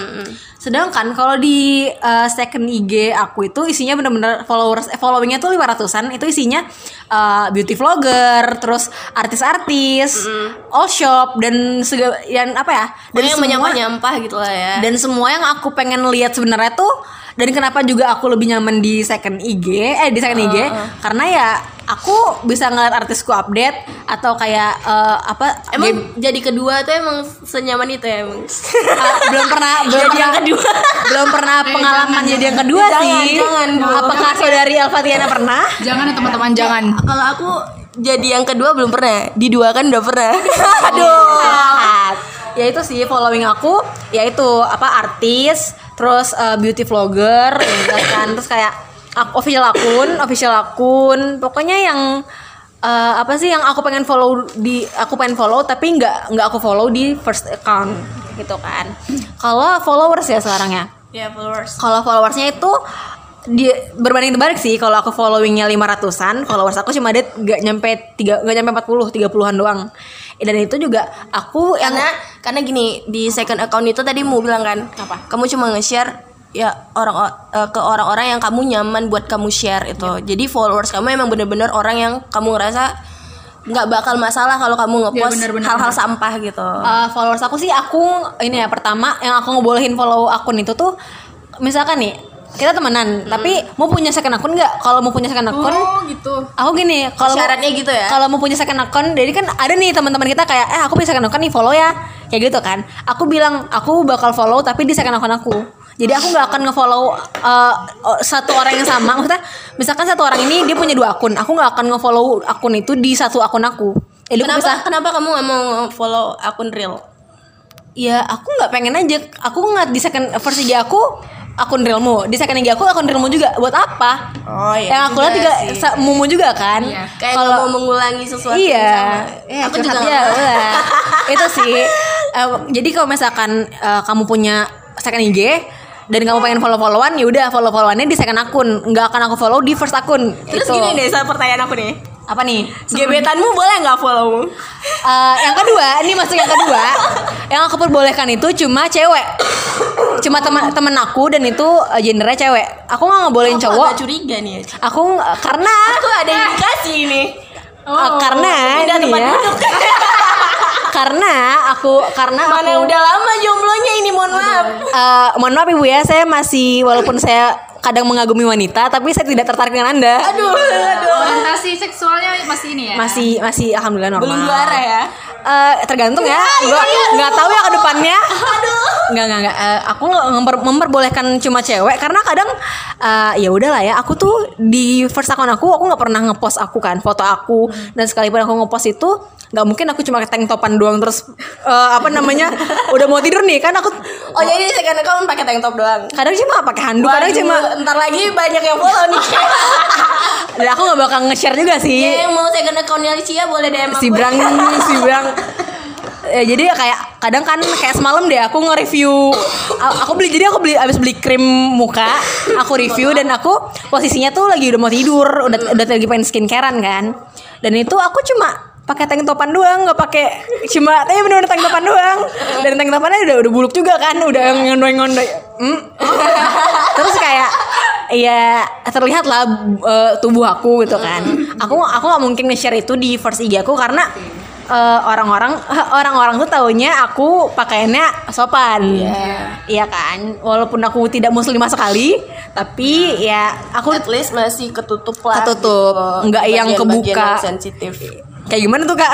Speaker 3: Sedangkan kalau di eh, second IG aku itu isinya bener-bener followers eh, followingnya tuh 500-an itu isinya eh, beauty vlogger, terus artis-artis, all shop dan segala dan apa ya? Dan
Speaker 1: Dan Hmm. yang
Speaker 3: semua-
Speaker 1: menyampah-nyampah gitu lah ya.
Speaker 3: dan semua yang aku pengen lihat sebenarnya tuh dan kenapa juga aku lebih nyaman di second IG eh di second IG karena ya aku bisa ngeliat artisku update atau kayak eh, apa
Speaker 1: emang
Speaker 3: game-
Speaker 1: jadi kedua tuh emang senyaman itu ya emang.
Speaker 3: ah, belum pernah belum
Speaker 1: Jadi yang
Speaker 3: pernah-
Speaker 1: kedua.
Speaker 3: belum pernah pengalaman jadi yang kedua
Speaker 1: Jangan,
Speaker 3: sih
Speaker 1: jangan, Bu.
Speaker 3: apakah saudari Alfatiana pernah
Speaker 2: Jangan ya teman-teman jangan.
Speaker 1: Kalau aku jadi yang kedua belum pernah, di dua kan udah pernah. Aduh.
Speaker 3: Iya, ya itu sih following aku yaitu apa artis terus eh, beauty vlogger ya kan terus kayak ak- official akun official akun pokoknya yang eh, apa sih yang aku pengen follow di aku pengen follow tapi nggak nggak aku follow di first account gitu kan kalau followers ya sekarang ya
Speaker 1: Ya followers.
Speaker 3: kalau followersnya itu di berbanding terbalik sih kalau aku followingnya 500-an followers aku cuma ada nggak nyampe tiga nggak nyampe 40 30-an doang Eh, dan itu juga aku yang
Speaker 1: karena karena gini di second account itu tadi mau bilang kan
Speaker 3: Apa?
Speaker 1: kamu cuma nge-share ya orang o- eh, ke orang-orang yang kamu nyaman buat kamu share itu jadi followers kamu emang bener-bener orang yang kamu ngerasa nggak bakal masalah kalau kamu ngepost
Speaker 2: bener, bener,
Speaker 1: hal-hal sampah gitu
Speaker 3: Uh, followers aku sih aku ini ya pertama yang aku ngebolehin follow akun itu tuh misalkan nih kita temenan tapi mau punya second akun nggak kalau mau punya second akun
Speaker 2: gitu.
Speaker 3: aku gini kalau mau-
Speaker 1: syaratnya gitu ya
Speaker 3: kalau mau punya second account jadi kan ada nih teman-teman kita kayak eh aku punya second account nih follow ya kayak gitu kan aku bilang aku bakal follow tapi di second account aku jadi aku nggak akan ngefollow uh, o- satu orang yang sama maksudnya misalkan satu orang ini dia punya dua akun aku nggak akan ngefollow akun itu di satu akun aku jadi
Speaker 1: kenapa
Speaker 3: aku bisa
Speaker 1: kenapa kamu nggak mau follow akun real
Speaker 3: ya aku nggak pengen aja aku ngeliat di second first IG aku akun realmu di second IG aku akun realmu juga buat apa
Speaker 1: oh
Speaker 3: yang aku lihat juga sa- mumu juga kan
Speaker 2: Iya.
Speaker 1: kayak
Speaker 3: Kalau-
Speaker 1: mau mengulangi sesuatu yang
Speaker 3: iya,
Speaker 1: sama.
Speaker 3: iya
Speaker 1: aku juga
Speaker 3: curhat
Speaker 1: nggak
Speaker 3: ya,
Speaker 1: mau.
Speaker 3: udah. itu sih Eh, jadi kalau misalkan eh, kamu punya second IG dan kamu pengen follow followan ya udah follow followannya di second akun nggak akan aku follow di first akun
Speaker 1: terus
Speaker 3: Gitu.
Speaker 1: gini deh saya pertanyaan aku nih
Speaker 3: apa nih
Speaker 1: gebetanmu boleh nggak follow
Speaker 3: Eh, yang kedua ini masuk yang kedua yang aku perbolehkan itu cuma cewek cuma teman teman aku dan itu eh, gendernya cewek aku nggak ngebolehin
Speaker 1: Aku
Speaker 3: cowok
Speaker 1: agak curiga nih ya.
Speaker 3: aku eh, karena
Speaker 1: Aku ada indikasi ini. Oh,
Speaker 3: eh, karena
Speaker 1: Pindah
Speaker 3: ini
Speaker 1: tempat
Speaker 3: ya,
Speaker 1: duduk.
Speaker 3: karena aku karena
Speaker 1: Mana
Speaker 3: aku,
Speaker 1: udah lama jomblonya ini, mohon maaf.
Speaker 3: Eh, mohon maaf ibu ya saya masih walaupun saya kadang mengagumi wanita tapi saya tidak tertarik dengan anda
Speaker 1: Aduh, aduh.
Speaker 2: Orientasi seksualnya masih ini ya.
Speaker 3: masih masih alhamdulillah normal
Speaker 1: Belum juara ya. Iya,
Speaker 3: Eh, tergantung ya gua nggak tahu ya ke depannya nggak nggak nggak Eh, aku nggak memper- memperbolehkan cuma cewek karena kadang eh, ya udahlah ya aku tuh di first account aku aku nggak pernah ngepost aku kan foto aku
Speaker 1: Hmm.
Speaker 3: dan sekalipun aku ngepost itu nggak mungkin aku cuma tank topan doang terus eh, apa namanya udah mau tidur nih kan aku
Speaker 1: Oh, jadi sekarang kamu pakai tank top doang.
Speaker 3: kadang cuma pakai handuk kadang
Speaker 1: Waduh,
Speaker 3: cuma
Speaker 1: ntar lagi banyak yang follow nih.
Speaker 3: dan Ya, aku gak bakal nge-share
Speaker 1: Ya,
Speaker 3: juga sih
Speaker 1: yang mau second account Alicia boleh DM aku.
Speaker 3: si brang si brang eh, jadi ya kayak kadang kan kayak semalam deh aku nge-review A- aku beli jadi aku beli abis beli krim muka aku review dan aku posisinya tuh lagi udah mau tidur udah udah lagi pengen skincarean kan dan itu aku cuma pakai tank topan doang nggak pakai cuma tapi bener-bener tank topan doang dan tank topannya udah udah buluk juga kan udah yang ngondoi-ngondoi Hmm. terus kayak ya terlihat lah eh, tubuh aku gitu kan aku aku nggak mungkin nge-share itu di first IG aku karena eh, orang-orang orang-orang tuh taunya aku pakaiannya sopan iya kan walaupun aku tidak muslimah sekali tapi
Speaker 1: Iya.
Speaker 3: ya aku
Speaker 1: At least masih ketutup lah
Speaker 3: Ketutup. Nggak yang
Speaker 1: Bagian-bagian
Speaker 3: kebuka.
Speaker 1: yang sensitif
Speaker 3: kayak gimana tuh kak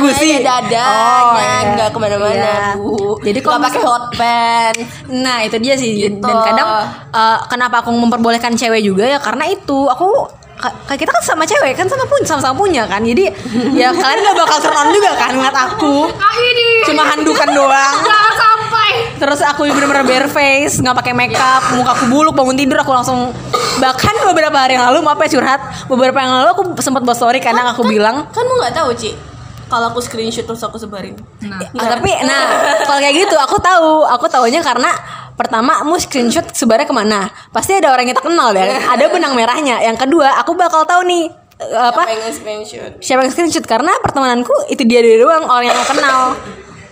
Speaker 1: Iya,
Speaker 3: gusi
Speaker 1: ya, dadanya
Speaker 3: iya.
Speaker 1: nggak kemana-mana
Speaker 3: Iya.
Speaker 1: bu
Speaker 3: jadi kalau
Speaker 1: nggak pakai
Speaker 3: misalnya-
Speaker 1: hot pants
Speaker 3: Nah itu dia sih
Speaker 1: Gitu.
Speaker 3: Dan kadang eh, Kenapa aku memperbolehkan cewek juga ya Karena itu Aku ka- Kita kan sama cewek Kan sama pun sama-sama punya kan Jadi Ya kalian gak bakal turn on juga kan Ngeliat aku
Speaker 2: Ah ini
Speaker 3: Cuma handukan doang
Speaker 2: jangan sampai.
Speaker 3: Terus aku bener-bener bare face nggak pakai makeup Muka aku buluk Bangun tidur aku langsung Bahkan beberapa hari yang lalu Maaf ya curhat Beberapa yang lalu Aku sempat buat story Karena aku bilang
Speaker 1: kan lu nggak tahu Ci kalau aku screenshot terus aku sebarin
Speaker 3: Ya, tapi nah kalau kayak gitu aku tahu aku taunya karena pertama mau screenshot sebarnya kemana pasti ada orang yang tak kenal kan ada benang merahnya yang kedua aku bakal tahu nih eh, apa
Speaker 1: Siapa yang nge-screenshot
Speaker 3: siapa yang screenshot karena pertemananku itu dia dia doang orang yang aku kenal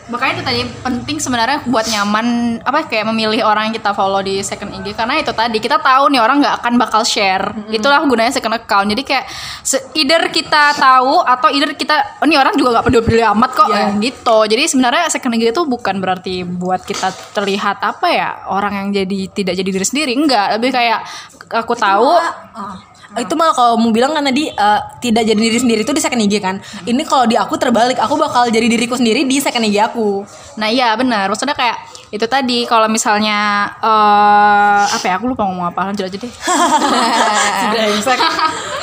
Speaker 2: Makanya itu tadi penting sebenarnya buat nyaman apa kayak memilih orang yang kita follow di second IG karena itu tadi kita tahu nih orang nggak akan bakal share. Itulah gunanya second account. Jadi kayak se- either kita tahu atau either kita oh, ini orang juga nggak peduli amat kok
Speaker 3: Iya.
Speaker 2: Eh, gitu. Jadi sebenarnya second IG itu bukan berarti buat kita terlihat apa ya orang yang jadi tidak jadi diri sendiri enggak, lebih kayak aku tahu
Speaker 1: Oh,
Speaker 3: itu malah kalau mau bilang
Speaker 1: kan
Speaker 3: karena di eh, tidak jadi diri sendiri itu di second IG kan ini kalau di aku terbalik aku bakal jadi diriku sendiri di second IG aku
Speaker 2: Nah iya benar, maksudnya kayak itu tadi kalau misalnya eh apa ya aku lupa ngomong apa lanjut aja deh.
Speaker 1: Eh.
Speaker 3: brengsek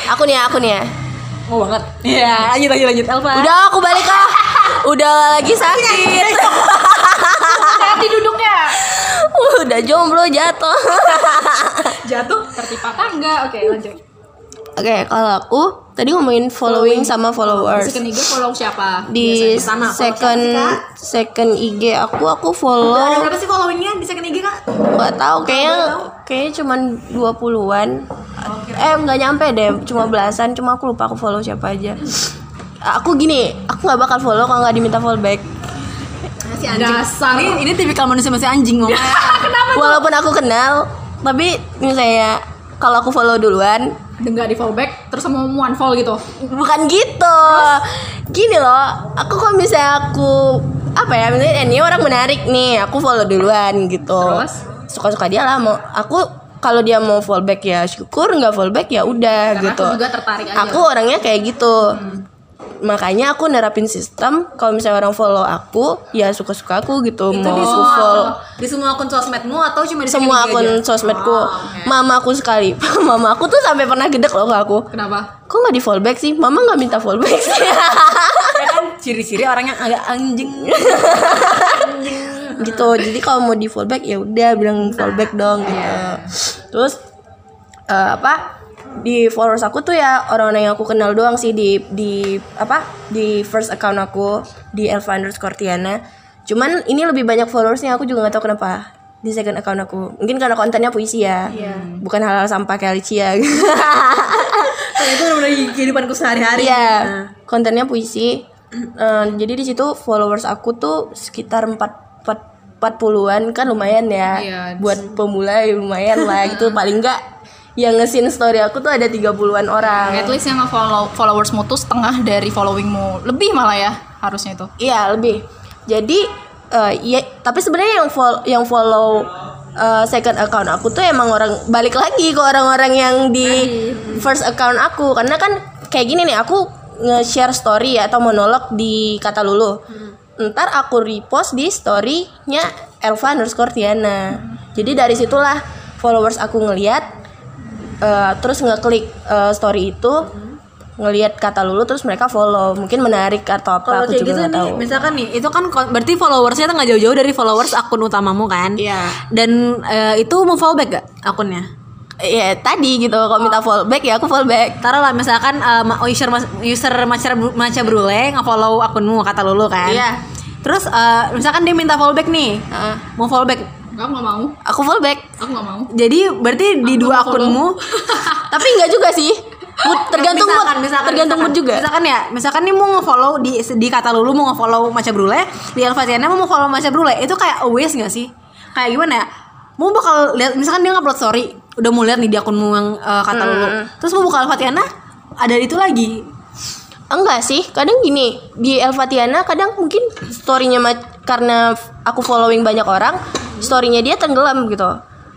Speaker 1: aku nih ya, aku nih ya
Speaker 3: mau banget ya lanjut lanjut lanjut Elva
Speaker 1: udah aku balik ah udah lagi sakit
Speaker 2: Hati duduknya.
Speaker 1: udah jomblo jatuh
Speaker 2: Jatuh tertimpa tangga. Oke, lanjut.
Speaker 1: oke kalau aku tadi ngomongin following sama followers
Speaker 2: Second IG follow siapa?
Speaker 1: di
Speaker 3: Pertama, follow
Speaker 1: second
Speaker 3: siapa
Speaker 1: second IG aku aku follow
Speaker 3: berapa sih followingnya di second IG kak
Speaker 1: nggak tahu kayaknya kayaknya cuman 20-an eh nggak nyampe deh cuma belasan cuma aku lupa aku follow siapa aja aku gini aku nggak bakal follow kalau nggak diminta follow back
Speaker 3: si anjing. Ini, ini tipikal manusia masih anjing ngomong.
Speaker 1: walaupun aku kenal tapi misalnya kalau aku follow duluan
Speaker 2: Enggak di follow back terus mau one follow gitu.
Speaker 1: bukan gitu gini loh aku kalau misalnya aku apa ya misalnya eh, ini orang menarik nih aku follow duluan gitu
Speaker 2: Terus?
Speaker 1: suka-suka dia lah mau aku kalau dia mau fallback ya syukur nggak fallback ya udah
Speaker 2: Karena
Speaker 1: gitu
Speaker 2: aku juga tertarik aja.
Speaker 1: aku orangnya kayak gitu
Speaker 3: Hmm.
Speaker 1: makanya aku nerapin sistem kalau misalnya orang follow aku ya suka-suka aku gitu
Speaker 3: Itu
Speaker 1: mau
Speaker 3: di
Speaker 1: aku
Speaker 3: semua
Speaker 1: follow
Speaker 3: di semua akun sosmedmu atau cuma di
Speaker 1: semua
Speaker 3: second IG
Speaker 1: akun
Speaker 3: aja?
Speaker 1: sosmedku
Speaker 3: Oh, oke.
Speaker 1: mama aku sekali mama aku tuh sampai pernah gedek loh ke aku
Speaker 2: Kenapa?
Speaker 1: kok nggak di fallback sih mama nggak minta fallback sih
Speaker 3: Ya kan ciri-ciri orang yang agak anjing.
Speaker 1: gitu jadi kalau mau di fallback ya udah
Speaker 3: Nah,
Speaker 1: bilang fallback dong gitu
Speaker 3: iya.
Speaker 1: terus eh, apa di followers aku tuh ya orang-orang yang aku kenal doang sih di di apa di first account aku di Elva underscore Tiana cuman ini lebih banyak followersnya aku juga nggak tahu kenapa di second account aku mungkin karena kontennya puisi ya bukan hal-hal sampah kayak Alicia
Speaker 3: Nah, itu benar kehidupanku sehari-hari.
Speaker 1: Iya,
Speaker 3: Nah,
Speaker 1: kontennya puisi. Eh, jadi di situ followers aku tuh sekitar 4 40-an kan lumayan ya.
Speaker 2: Iya.
Speaker 1: Buat pemula ya lumayan lah gitu paling enggak yang ngesin story aku tuh ada 30-an
Speaker 2: At
Speaker 1: orang.
Speaker 2: least yang follow followersmu tuh setengah dari followingmu lebih malah ya harusnya itu.
Speaker 1: Iya, lebih. Jadi eh, ya tapi sebenarnya yang follow yang follow eh, second account aku tuh emang orang balik lagi ke orang-orang yang di first account aku karena kan kayak gini nih aku nge-share story atau monolog di kata lulu ntar aku repost di storynya Elva underscore Tiana jadi dari situlah followers aku ngeliat eh, terus ngeklik eh, story itu ngelihat kata lulu terus mereka follow mungkin menarik atau
Speaker 3: Kalau
Speaker 1: apa Iya, aku
Speaker 3: kayak gitu
Speaker 1: juga nggak
Speaker 3: nih,
Speaker 1: tahu
Speaker 3: misalkan nih, itu kan kon- berarti followersnya tuh nggak jauh-jauh dari followers akun utamamu kan?
Speaker 1: Iya.
Speaker 3: Dan eh, itu mau follow back gak akunnya?
Speaker 1: ya tadi gitu kalau
Speaker 3: Oh.
Speaker 1: minta follow back ya aku follow back
Speaker 3: Taruhlah misalkan eh, ma- user mas- user macer macer brule nge-follow akunmu kata lulu kan?
Speaker 1: Iya.
Speaker 3: Terus eh, misalkan dia minta fallback nih,
Speaker 1: Heeh.
Speaker 3: mau fallback.
Speaker 2: Aku nggak mau.
Speaker 1: aku fullback
Speaker 2: Aku nggak mau.
Speaker 3: Jadi berarti di
Speaker 2: mau
Speaker 3: dua
Speaker 2: follow.
Speaker 3: akunmu
Speaker 1: tapi nggak juga sih mood tergantung mood
Speaker 3: Misalkan, misalkan,
Speaker 1: tergantung mood
Speaker 3: misalkan.
Speaker 1: juga
Speaker 3: Misalkan ya, misalkan nih mau nge-follow di di kata lulu mau nge-follow Maca Brule, di Alfatiana mau nge-follow Maca Brule, itu kayak a waste gak sih? Kayak gimana ya? Mau bakal lihat misalkan dia upload story, udah mau lihat nih di akunmu yang eh, kata
Speaker 2: Hmm.
Speaker 3: lulu. Terus mau buka Alfatiana, ada itu lagi.
Speaker 1: enggak sih kadang gini di Elvatiana kadang mungkin storynya ma- karena aku following banyak orang storynya dia tenggelam gitu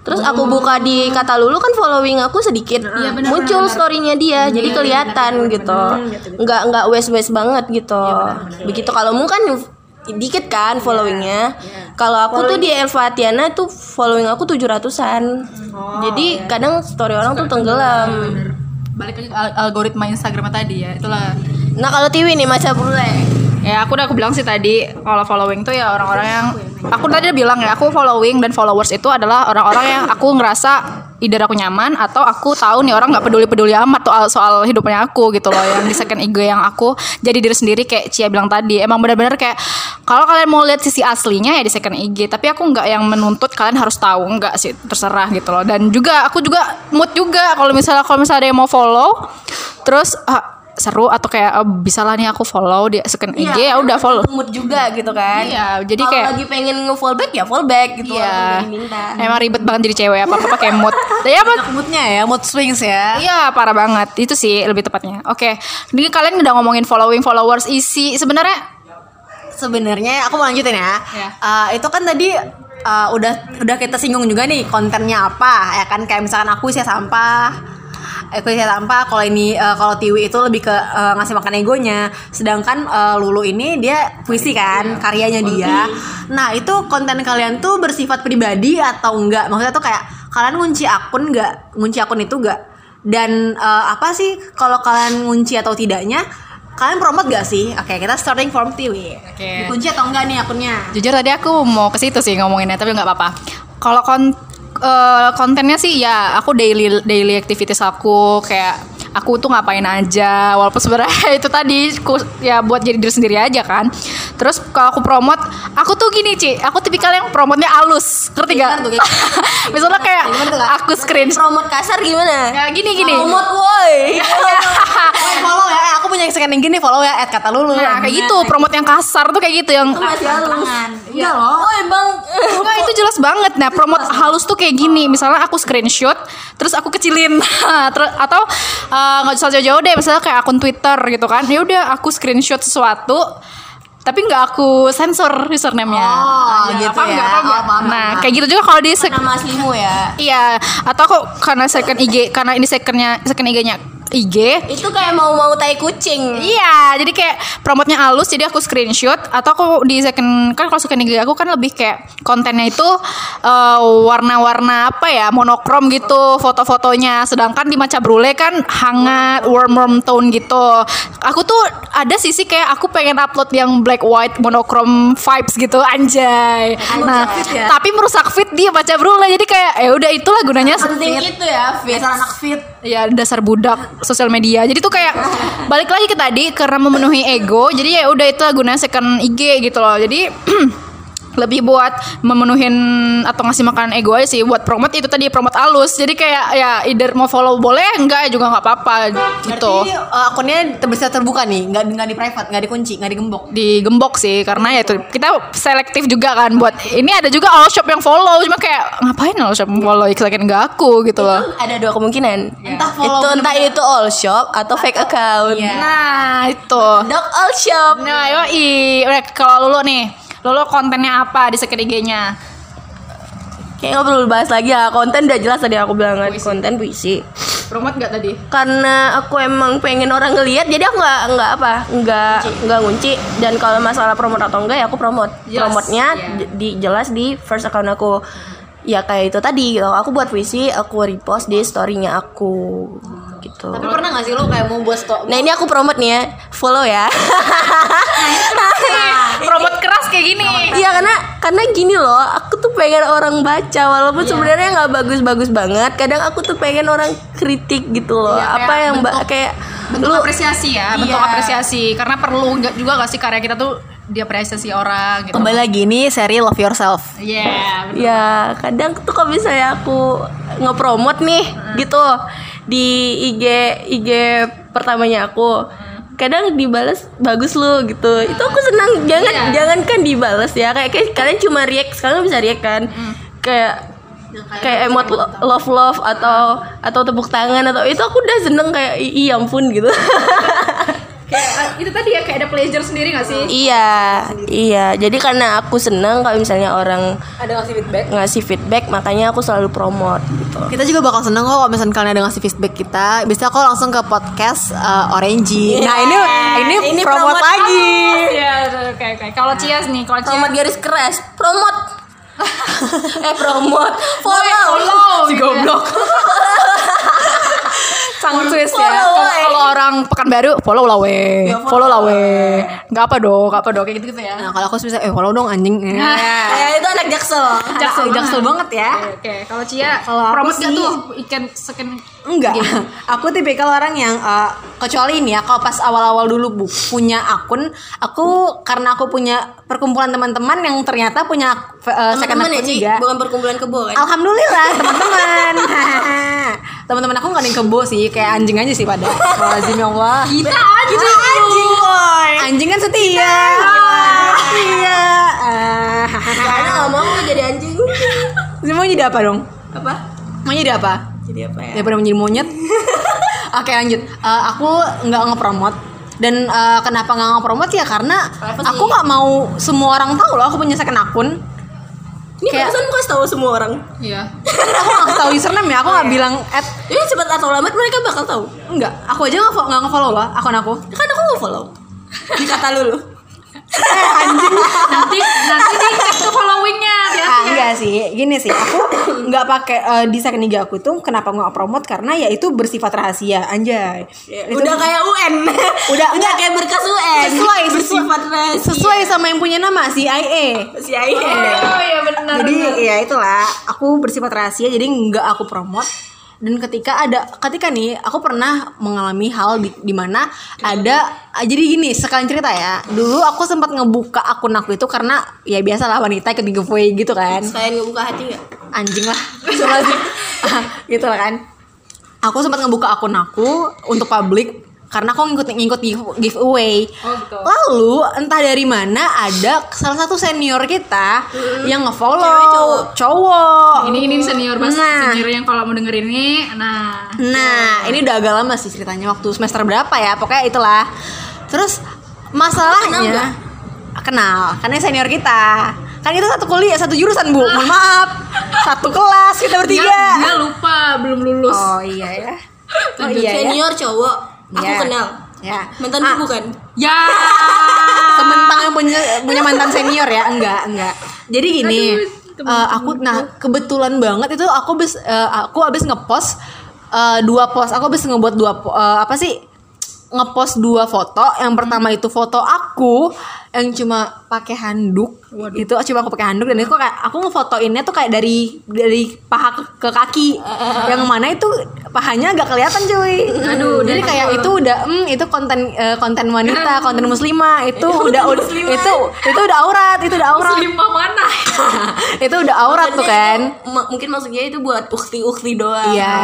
Speaker 1: terus aku buka di kata lulu kan following aku sedikit
Speaker 2: benar,
Speaker 1: muncul storynya dia jadi kelihatan gitu nggak nggak waste waste banget gitu begitu kalau mu kan dikit kan followingnya kalau aku tuh di Elvatiana tuh following aku 700an jadi kadang Hmm. Oh, iya. story orang tuh tenggelam
Speaker 2: Balik lagi ke al- algoritma Instagram tadi ya. Itulah.
Speaker 1: nah kalau Tiwi nih maca bule
Speaker 2: Ya aku udah aku bilang sih tadi kalau following tuh ya orang-orang yang aku tadi udah bilang ya aku following dan followers itu adalah orang-orang yang aku ngerasa either aku nyaman atau aku tahu nih orang nggak peduli-peduli amat soal soal hidupnya aku gitu loh yang di second IG yang aku jadi diri sendiri kayak Cia bilang tadi emang benar-benar kayak kalau kalian mau lihat sisi aslinya ya di second IG tapi aku nggak yang menuntut kalian harus tahu nggak sih terserah gitu loh dan juga aku juga mood juga kalau misalnya kalau misalnya ada yang mau follow terus ah, seru atau kayak eh, bisa lah nih aku follow di second IG ya udah follow
Speaker 1: mood juga gitu kan
Speaker 2: Iya, jadi
Speaker 1: Kalau
Speaker 2: kayak-
Speaker 1: lagi pengen nge-fallback ya fallback gitu
Speaker 2: Iya.
Speaker 1: walaupun diminta.
Speaker 2: Emang ribet banget jadi cewek apa apa pakai mood. Ya apa?
Speaker 3: Moodnya ya, mood swings ya.
Speaker 2: Iya parah banget itu sih lebih tepatnya. Oke, ini kalian udah ngomongin following followers isi sebenarnya
Speaker 3: Sebenarnya aku mau lanjutin ya.
Speaker 2: Iya.
Speaker 3: Eh, itu kan tadi eh, udah udah kita singgung juga nih kontennya apa ya kan kayak misalkan aku sih sampah. Aku sih sampah kalau ini eh, kalau Tiwi itu lebih ke eh, ngasih makan egonya, sedangkan eh, Lulu ini dia puisi kan karyanya dia. Nah itu konten kalian tuh bersifat pribadi atau enggak? Maksudnya tuh kayak kalian ngunci akun enggak? Ngunci akun itu enggak? Dan eh, apa sih kalau kalian ngunci atau tidaknya? Kalian promote gak sih? Oke, kita starting from Tiwi.
Speaker 2: Oke.
Speaker 3: Dikunci atau enggak nih akunnya?
Speaker 2: jujur tadi aku mau ke situ sih ngomonginnya tapi nggak apa-apa. Kalau kon eh, kontennya sih ya aku daily daily activities aku kayak aku tuh ngapain aja walaupun sebenarnya itu tadi ku- ya buat jadi diri sendiri aja kan. Terus kalau aku promote aku tuh gini Ci, aku tipikal yang promotnya alus. Ngerti gak?
Speaker 3: Gimana tuh, kayak
Speaker 2: Misalnya kayak
Speaker 3: Gimana tuh, Kak?
Speaker 2: aku screen
Speaker 1: Promote kasar gimana?
Speaker 2: Ya gini gini.
Speaker 1: Promote woi. iya.
Speaker 3: Eh, follow ya, Eh, aku punya scanning gini follow ya, at kata lulu.
Speaker 2: Nah, kayak gitu, promote yang kasar tuh kayak gitu yang
Speaker 1: Masih halus.
Speaker 3: Enggak loh.
Speaker 1: Oh, emang
Speaker 2: Enggak, itu jelas banget. Nah, promote halus tuh kayak gini. Misalnya aku screenshot, terus aku kecilin. Terus- atau eh, nggak usah jauh-jauh deh, misalnya kayak akun Twitter gitu kan. Ya udah, aku screenshot sesuatu tapi nggak aku sensor username-nya.
Speaker 3: Oh, gitu
Speaker 2: paham
Speaker 3: ya.
Speaker 2: nggak, paham nggak?
Speaker 3: Oh, paham,
Speaker 2: nah,
Speaker 3: paham.
Speaker 2: kayak gitu juga kalau di sec-
Speaker 1: nama aslimu ya.
Speaker 2: Iya, atau kok karena second IG, karena ini secondnya second IG-nya IG,
Speaker 1: Itu kayak mau-mau tai kucing.
Speaker 2: Iya, jadi kayak promotnya halus, jadi aku screenshot atau aku di second kan kalau second IG aku kan lebih kayak kontennya itu eh, warna-warna apa ya, monokrom gitu foto-fotonya. Sedangkan di Maca Brule kan hangat, warm warm tone gitu. Aku tuh ada sisi kayak aku pengen upload yang black white monokrom vibes gitu anjay. Nah,
Speaker 3: merusak fit ya?
Speaker 2: tapi merusak fit di Maca Brule. Jadi kayak ya udah itulah gunanya
Speaker 1: Penting itu ya, Fit.
Speaker 3: Biasa anak fit.
Speaker 2: ya dasar budak sosial media jadi tuh kayak balik lagi ke tadi karena memenuhi ego jadi ya udah itu gunanya second IG gitu loh jadi lebih buat memenuhin atau ngasih makan ego aja sih buat promote itu tadi promote alus jadi kayak ya either mau follow boleh enggak ya juga nggak apa-apa
Speaker 1: ya-
Speaker 2: gitu
Speaker 3: Berarti eh, akunnya ter- bisa terbuka nih, nggak nggak di private, nggak dikunci, nggak digembok.
Speaker 2: digembok sih karena ya itu kita selektif juga kan buat ini ada juga all shop yang follow cuma kayak ngapain all shop follow second enggak aku gitu loh
Speaker 1: Ada dua kemungkinan.
Speaker 3: Entah follow
Speaker 1: Iya. itu entah itu all shop atau fake account.
Speaker 3: Iya.
Speaker 2: nah itu
Speaker 1: Dog all shop.
Speaker 2: Nah, yoi. Udah, kalau Lulu nih, Lulu kontennya apa di second IG-nya?
Speaker 1: Kayak nggak perlu bahas lagi ya. Konten udah jelas tadi aku bilang kan konten puisi.
Speaker 2: Promote gak tadi?
Speaker 1: karena aku emang pengen orang ngelihat jadi aku nggak nggak apa nggak nggak ngunci dan kalau masalah promote atau enggak ya aku promote
Speaker 2: Jelas,
Speaker 1: promotenya
Speaker 2: iya.
Speaker 1: di- di jelas di first account aku ya kayak itu tadi gitu aku buat puisi aku repost di storynya aku gitu
Speaker 3: Tapi pernah nggak sih lo kayak mau buat stok?
Speaker 1: nah ini aku promote nih ya follow ya
Speaker 2: Promote keras kayak gini.
Speaker 1: Iya karena karena gini loh, aku tuh pengen orang baca walaupun sebenarnya nggak bagus-bagus banget. Kadang aku tuh pengen orang kritik gitu loh.
Speaker 2: Iya,
Speaker 1: apa
Speaker 2: kayak
Speaker 1: yang ba-
Speaker 2: bentuk-
Speaker 1: kayak
Speaker 2: Bentuk apresiasi ya, bentuk
Speaker 1: Iya.
Speaker 2: apresiasi. Karena perlu nggak juga gak sih karya kita tuh diapresiasi orang gitu. Iya,
Speaker 3: Kembali lagi ini seri Love Yourself.
Speaker 2: Yeah, bener.
Speaker 1: Ya kadang tuh kalau misalnya aku ngepromot nih gitu di IG IG pertamanya aku kadang dibales bagus lu gitu itu aku senang jangan
Speaker 2: Iya.
Speaker 1: jangan kan dibales ya kayak, kayak kalian cuma react sekarang bisa react kan kayak kayak emot lo- love love atau atau tepuk tangan atau itu aku udah seneng kayak "I- iya ampun gitu
Speaker 2: Kayak, eh, itu tadi ya kayak ada pleasure sendiri gak sih?
Speaker 1: iya iya jadi karena aku seneng kalau misalnya orang
Speaker 3: Ada ngasih feedback?
Speaker 1: ngasih feedback makanya aku selalu promote gitu
Speaker 2: Oh.
Speaker 3: Kita juga bakal seneng kok kalau misalnya kalian ada ngasih feedback kita Bisa kok langsung ke podcast uh, Orange Nah ini ini,
Speaker 1: Ini
Speaker 3: promote,
Speaker 1: promote
Speaker 3: lagi
Speaker 2: Iya, oke oke. Kalau Cias nih, kalau Cias
Speaker 1: Promote garis keras, promote. eh promote, follow.
Speaker 2: follow gitu ya.
Speaker 3: Sang Swiss
Speaker 2: Ya,
Speaker 1: Follow.
Speaker 3: ya
Speaker 2: kalau-
Speaker 1: weh.
Speaker 2: kalau orang Pekanbaru follow lah weh. follow lah weh. Enggak apa dong, enggak apa dong kayak gitu-gitu ya.
Speaker 3: Nah kalau aku bisa eh follow dong anjing
Speaker 2: Nah.
Speaker 1: Ya itu anak jaksel.
Speaker 3: Jaksel, jaksel banget ya
Speaker 2: Oke, oke. kalau Cia
Speaker 3: Kalau aku
Speaker 2: promote gak
Speaker 3: sih-
Speaker 2: tuh ikan second
Speaker 3: Enggak, aku tipikal orang yang eh, kecuali ini ya kalau pas awal-awal dulu bu, punya akun, aku karena aku punya perkumpulan teman-teman yang ternyata punya eh, second
Speaker 1: Teman-teman ya,
Speaker 3: akun
Speaker 1: Ci,
Speaker 3: juga.
Speaker 1: bukan perkumpulan kebo kan?
Speaker 3: Alhamdulillah teman-teman. teman-teman aku nggak ada yang kebo sih, kayak anjing aja sih pada. Lazim ya Allah.
Speaker 2: kita aja gitu.
Speaker 1: Anjing, boy.
Speaker 3: Anjing kan setia. Setia. Ah,
Speaker 1: Karena nggak mau aku jadi anjing.
Speaker 3: Mau jadi apa dong?
Speaker 1: Apa?
Speaker 3: Mau jadi apa?
Speaker 1: Jadi apa ya?
Speaker 3: daripada menjadi monyet oke lanjut Eh, aku nggak ngepromot dan eh, kenapa nggak ngepromot ya karena
Speaker 1: Privacy.
Speaker 3: aku nggak mau semua orang tahu loh aku punya second akun
Speaker 1: Ini
Speaker 3: Kayak-
Speaker 1: perasaan gue tahu semua orang.
Speaker 2: Iya.
Speaker 3: aku nggak tahu username ya aku nggak bilang at
Speaker 1: Oh, iya. Ini cepat atau lambat mereka bakal tahu.
Speaker 3: enggak aku aja nggak fo- nggak ngefollow loh akun aku
Speaker 1: Kan aku nggak follow. Dikata lulu.
Speaker 2: nanti nanti di cek tuh followingnya ya.
Speaker 3: Ah, enggak sih gini sih aku nggak pakai eh, di second IG aku tuh kenapa nggak promote karena ya itu bersifat rahasia anjay Itu-
Speaker 1: Ya, Udah kayak UN.
Speaker 3: Udah,
Speaker 1: udah kayak berkas UN.
Speaker 3: Sesuai, sesuai.
Speaker 1: bersifat rahasia.
Speaker 3: sesuai sama yang punya nama CIA
Speaker 1: si Aye.
Speaker 2: Oh iya benar.
Speaker 3: jadi
Speaker 2: benar.
Speaker 3: ya itulah aku bersifat rahasia jadi nggak aku promote dan ketika ada ketika nih aku pernah mengalami hal di, di mana ada ah, jadi gini sekalian cerita ya dulu aku sempat ngebuka akun aku itu karena ya biasalah wanita ikut giveaway gitu kan
Speaker 1: Sekalian ngebuka hati nggak?
Speaker 3: anjing lah Astagfirullahaladzim. gitu lah kan aku sempat ngebuka akun aku untuk publik karena aku ngikut ngikut give- giveaway
Speaker 2: Oh, gitu.
Speaker 3: lalu entah dari mana ada salah satu senior kita yang
Speaker 1: Cewek,
Speaker 3: ngefollow
Speaker 1: cowok.
Speaker 3: cowok
Speaker 2: ini ini senior mas
Speaker 3: Nah.
Speaker 2: senior yang kalau mau denger ini nah
Speaker 3: nah
Speaker 1: Iya.
Speaker 3: ini udah agak lama sih ceritanya waktu semester berapa ya pokoknya itulah terus
Speaker 1: Kenal nggak?
Speaker 3: masalahnya kenal karena senior kita kan kita satu kuliah satu
Speaker 1: Ah.
Speaker 3: jurusan bu mohon maaf satu kelas kita
Speaker 2: dia,
Speaker 3: bertiga
Speaker 1: Iya,
Speaker 2: dia lupa belum lulus
Speaker 3: Oh iya ya. Oh iya ya.
Speaker 1: Senior cowok. Aku
Speaker 3: Iya.
Speaker 1: kenal.
Speaker 3: Ya.
Speaker 1: Mantan kan?
Speaker 3: Ah,
Speaker 1: bukan?
Speaker 2: ya
Speaker 3: Sementang yang punya punya mantan senior ya? Enggak, enggak. Jadi gini,
Speaker 2: Aduh, temen
Speaker 3: eh, aku nah kebetulan banget itu aku abis eh, aku abis ngepost eh, dua post. Aku abis ngebuat dua po- eh, apa sih? ngepost dua foto yang pertama itu foto aku yang cuma pakai handuk itu cuma aku pakai handuk dan itu kayak aku ngefotoinnya tuh kayak dari dari paha ke, ke kaki yang mana itu pahanya agak kelihatan cuy aduh jadi kayak itu udah hmm, itu konten eh, konten wanita konten muslimah itu udah itu itu udah aurat itu udah aurat
Speaker 2: muslimah mana
Speaker 3: itu udah aurat tuh kan
Speaker 1: Makanya itu, ma- mungkin maksudnya itu buat ukti-ukti doang.
Speaker 3: Iya.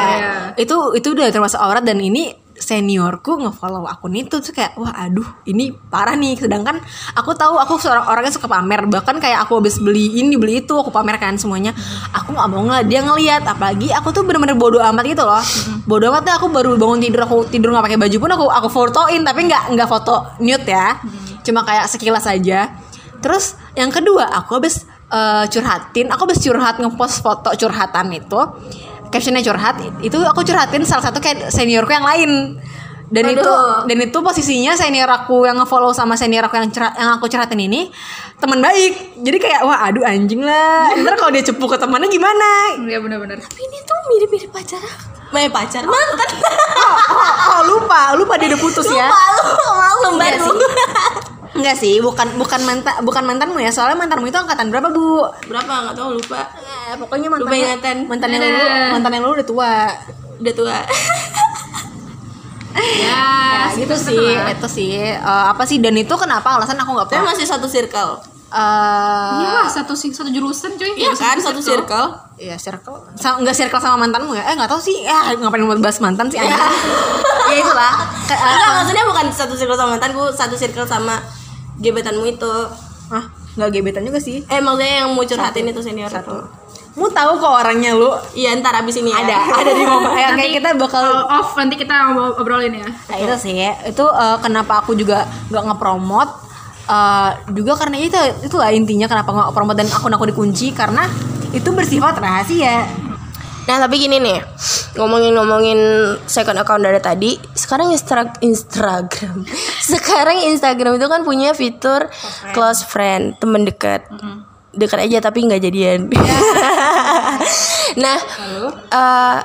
Speaker 2: Iya.
Speaker 3: Itu itu udah termasuk aurat dan ini seniorku ngefollow akun itu tuh kayak wah aduh ini parah nih sedangkan aku tahu aku seorang orangnya suka pamer bahkan kayak aku habis beli ini beli itu aku pamerkan semuanya aku nggak mau ngeliat dia ngeliat apalagi aku tuh bener-bener bodoh amat gitu loh bodoh amat tuh aku baru bangun tidur aku tidur nggak pakai baju pun aku aku fotoin tapi nggak nggak foto nude ya cuma kayak sekilas aja Terus yang kedua aku habis eh, curhatin, aku habis curhat ngepost foto curhatan itu. Captionnya curhat, itu aku curhatin salah satu kayak seniorku yang lain. Dan itu
Speaker 1: Aduh.
Speaker 3: dan itu posisinya senior aku yang ngefollow sama senior aku yang curhat, yang aku curhatin ini teman baik. Jadi kayak wah aduh anjing lah. Ntar kalau dia cepu ke temannya gimana?
Speaker 2: ya benar-benar
Speaker 1: Ini tuh mirip-mirip pacar aku. Main pacar mantan.
Speaker 3: Oh, oh, oh, lupa, lupa dia udah putus ya.
Speaker 1: Malu,
Speaker 4: Iya
Speaker 1: malu baru.
Speaker 3: Enggak sih, bukan bukan mantan bukan mantanmu ya. Soalnya mantanmu itu angkatan berapa, Bu?
Speaker 1: Berapa nggak tahu lupa.
Speaker 3: Eh, pokoknya mantan
Speaker 1: Lupa ingatan.
Speaker 4: Iya.
Speaker 3: mantan yang lu mantan yang lu udah tua
Speaker 1: Udah tua.
Speaker 2: ya,
Speaker 3: Nah, gitu sih itu sih eh, apa sih dan itu kenapa alasan aku nggak
Speaker 4: Tapi
Speaker 3: pernah
Speaker 4: masih satu circle.
Speaker 3: Eh,
Speaker 2: Iya, satu sing- satu jurusan cuy.
Speaker 4: Iya
Speaker 2: Jurusan
Speaker 4: kan satu circle.
Speaker 3: Iya circle sama, Nggak circle sama mantanmu ya Eh nggak tahu sih Ya ngapain mau bahas mantan sih anjing.
Speaker 2: Iya.
Speaker 3: Ya itulah Ke- eh,
Speaker 4: Enggak, maksudnya bukan satu circle sama mantanku, satu circle sama gebetanmu itu.
Speaker 3: Hah? Nggak gebetan juga sih
Speaker 4: Eh maksudnya yang mau curhatin itu senior satu.
Speaker 3: Mu tahu kok orangnya lu
Speaker 4: Iya ntar abis ini ya.
Speaker 3: Ada Ada di momen Ya, Kayak
Speaker 2: Nanti-
Speaker 3: kita bakal
Speaker 2: Kalau off nanti kita ngobrol- obrolin ya.
Speaker 3: Nah, itu sih itu eh, kenapa aku juga nggak ngepromot eh, juga karena itu itulah intinya kenapa nggak promot dan akun aku dikunci karena itu bersifat rahasia
Speaker 1: Nah tapi gini nih ngomongin-ngomongin second account dari tadi, sekarang Instra- Instagram, sekarang Instagram itu kan punya fitur close friend, temen dekat, dekat aja tapi nggak jadian. nah, eh,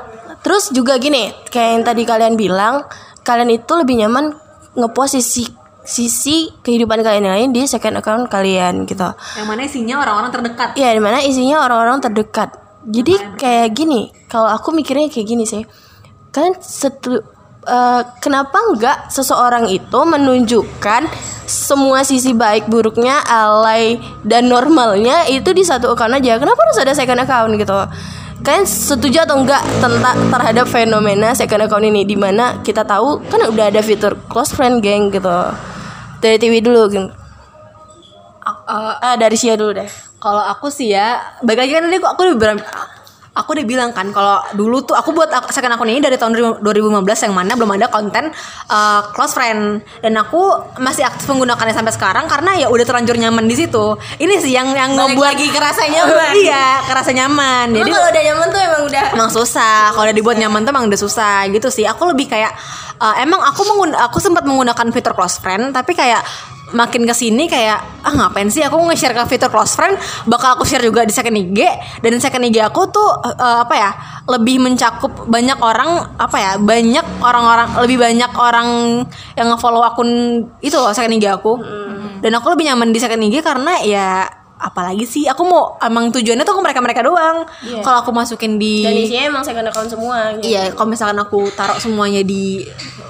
Speaker 1: terus juga gini, kayak yang tadi kalian bilang, kalian itu lebih nyaman ngepost sisi sisi kehidupan kalian yang lain di second account kalian gitu.
Speaker 3: yang mana isinya orang-orang terdekat
Speaker 1: Ya dimana isinya orang-orang terdekat Jadi kayak gini Kalau aku mikirnya kayak gini sih Kan setu, eh, Kenapa nggak seseorang itu menunjukkan Semua sisi baik buruknya Alay dan normalnya Itu di satu account aja Kenapa harus ada second account gitu Kalian setuju atau enggak tentang terhadap fenomena second account ini Dimana kita tahu kan udah ada fitur close friend geng gitu Dari TV dulu geng. Ah, dari Sia dulu deh
Speaker 3: kalau aku sih ya balik lagi kan tadi aku udah bilang- aku udah bilang kan kalau dulu tuh aku buat ak- second akun ini dari tahun 2015 yang mana belum ada konten uh, close friend dan aku masih aktif menggunakannya sampai sekarang karena ya udah terlanjur nyaman di situ ini sih yang yang
Speaker 4: Balik
Speaker 3: ngebuat
Speaker 4: lagi kerasa nyaman.
Speaker 3: iya kerasa nyaman
Speaker 4: Emang
Speaker 3: jadi
Speaker 4: kalau udah nyaman tuh emang udah
Speaker 3: emang susah kalau udah dibuat nyaman tuh emang udah susah gitu sih aku lebih kayak eh, emang aku menggun- aku sempat menggunakan fitur close friend tapi kayak makin kesini kayak ah ngapain sih aku nge-share ke fitur close friend bakal aku share juga di second IG dan second IG aku tuh eh, apa ya lebih mencakup banyak orang apa ya banyak orang-orang lebih banyak orang yang nge-follow akun itu loh second IG aku dan aku lebih nyaman di second IG karena ya apalagi sih aku mau emang tujuannya tuh mereka mereka doang kalau aku masukin di
Speaker 1: Dan isinya emang second account semua gitu.
Speaker 3: Iya, kalau misalkan aku taruh semuanya di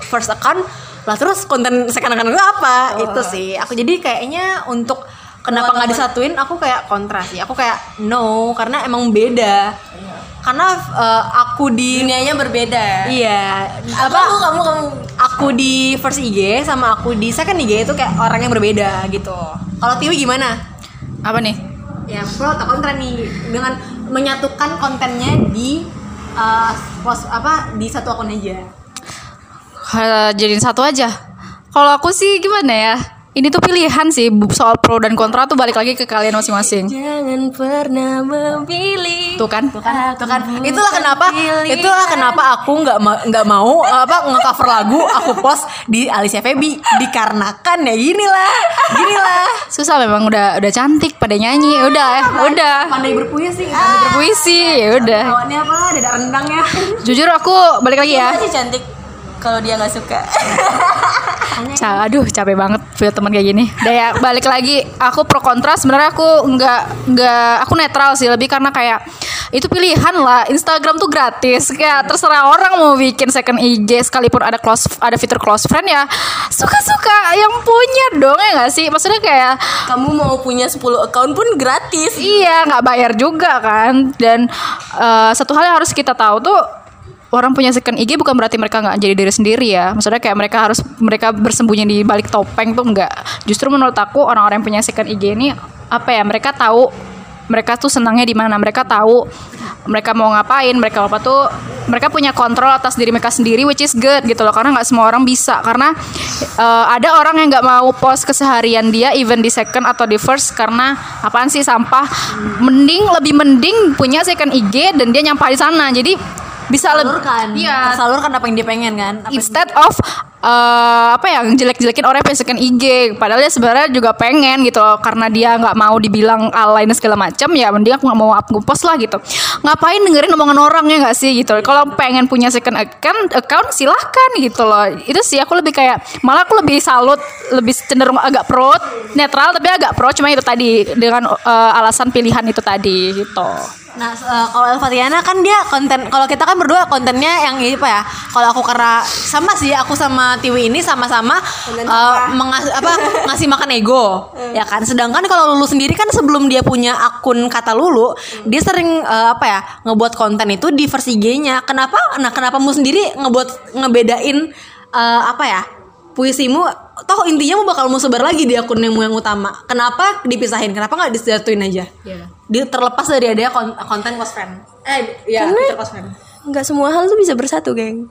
Speaker 3: first account, lah terus konten second account gue apa?
Speaker 4: Oh.
Speaker 3: Itu sih. Aku jadi kayaknya untuk kenapa nggak disatuin? Aku kayak kontra sih. Aku kayak no karena emang beda. Karena eh, aku di
Speaker 4: dunianya berbeda.
Speaker 3: iya apa?
Speaker 4: Kamu kamu kamu
Speaker 3: Aku di first IG sama aku di second IG itu kayak orang yang berbeda gitu. Kalau Tiwi gimana?
Speaker 2: Apa nih?
Speaker 3: Ya pro atau kontra nih dengan menyatukan kontennya di eh, post- apa di satu akun aja.
Speaker 2: Ha, jadiin satu aja. Kalau aku sih gimana ya? Ini tuh pilihan sih bu- soal pro dan kontra tuh balik lagi ke kalian masing-masing.
Speaker 1: Jangan pernah memilih.
Speaker 2: Tuh kan?
Speaker 1: Tuh kan.
Speaker 3: itulah kenapa itulah kenapa aku nggak ma- nggak mau apa ngecover lagu aku post di Alicia Febi dikarenakan ya ginilah ginilah
Speaker 2: Susah memang udah udah cantik pada nyanyi. Udah, ya, udah.
Speaker 3: pandai berpuisi
Speaker 2: Pandai Berpuisi, ya udah.
Speaker 3: lawannya apa dada rendang ya
Speaker 2: Jujur aku balik lagi ya.
Speaker 4: masih cantik kalau dia nggak suka.
Speaker 2: Ca- aduh capek banget punya teman kayak gini. Udah ya balik lagi aku pro kontra sebenarnya aku nggak nggak aku netral sih lebih karena kayak itu pilihan lah Instagram tuh gratis kayak terserah orang mau bikin second IG sekalipun ada close ada fitur close friend ya suka suka yang punya dong ya nggak sih maksudnya kayak
Speaker 4: kamu mau punya 10 account pun gratis.
Speaker 2: Iya, nggak bayar juga kan. Dan eh, satu hal yang harus kita tahu tuh orang punya second IG bukan berarti mereka nggak jadi diri sendiri ya. Maksudnya kayak mereka harus mereka bersembunyi di balik topeng tuh nggak. Justru menurut aku orang-orang yang punya second IG ini apa ya? Mereka tahu mereka tuh senangnya di mana. Mereka tahu mereka mau ngapain, mereka apa tuh mereka punya kontrol atas diri mereka sendiri which is good gitu loh karena nggak semua orang bisa karena eh, ada orang yang nggak mau post keseharian dia even di second atau di first karena apaan sih sampah mending lebih mending punya second IG dan dia nyampah di sana jadi bisa lebih
Speaker 3: salurkan
Speaker 2: iya
Speaker 3: salurkan apa yang dia pengen kan apa
Speaker 2: instead of eh, apa ya jelek-jelekin orang yang punya second IG padahal dia sebenarnya juga pengen gitu loh karena dia nggak mau dibilang alay dan segala macam ya mending aku nggak mau up post lah gitu ngapain dengerin omongan orang ya nggak sih gitu kalau pengen punya second account account silahkan gitu loh itu sih aku lebih kayak malah aku lebih salut lebih cenderung agak pro netral tapi agak pro cuma itu tadi dengan eh, alasan pilihan itu tadi gitu
Speaker 3: Nah, s- eh, kalau Elvatiana kan dia konten kalau kita kan berdua kontennya yang ini apa ya? Kalau aku karena sama sih aku sama Tiwi ini sama-sama eh, mengas- apa ngasih makan ego. ya kan? Sedangkan kalau Lulu sendiri kan sebelum dia punya akun kata Lulu, dia sering eh, apa ya? ngebuat konten itu di versi G-nya. Kenapa? Nah, kenapa mu sendiri ngebuat ngebedain eh, apa ya? puisimu toh intinya mau bakal mau sebar lagi di akunmu yang utama. Kenapa dipisahin? Kenapa nggak disatuin aja? Dia terlepas dari adanya kon- konten close friend. Eh, ya, fitur close friend.
Speaker 1: nggak semua hal tuh bisa bersatu geng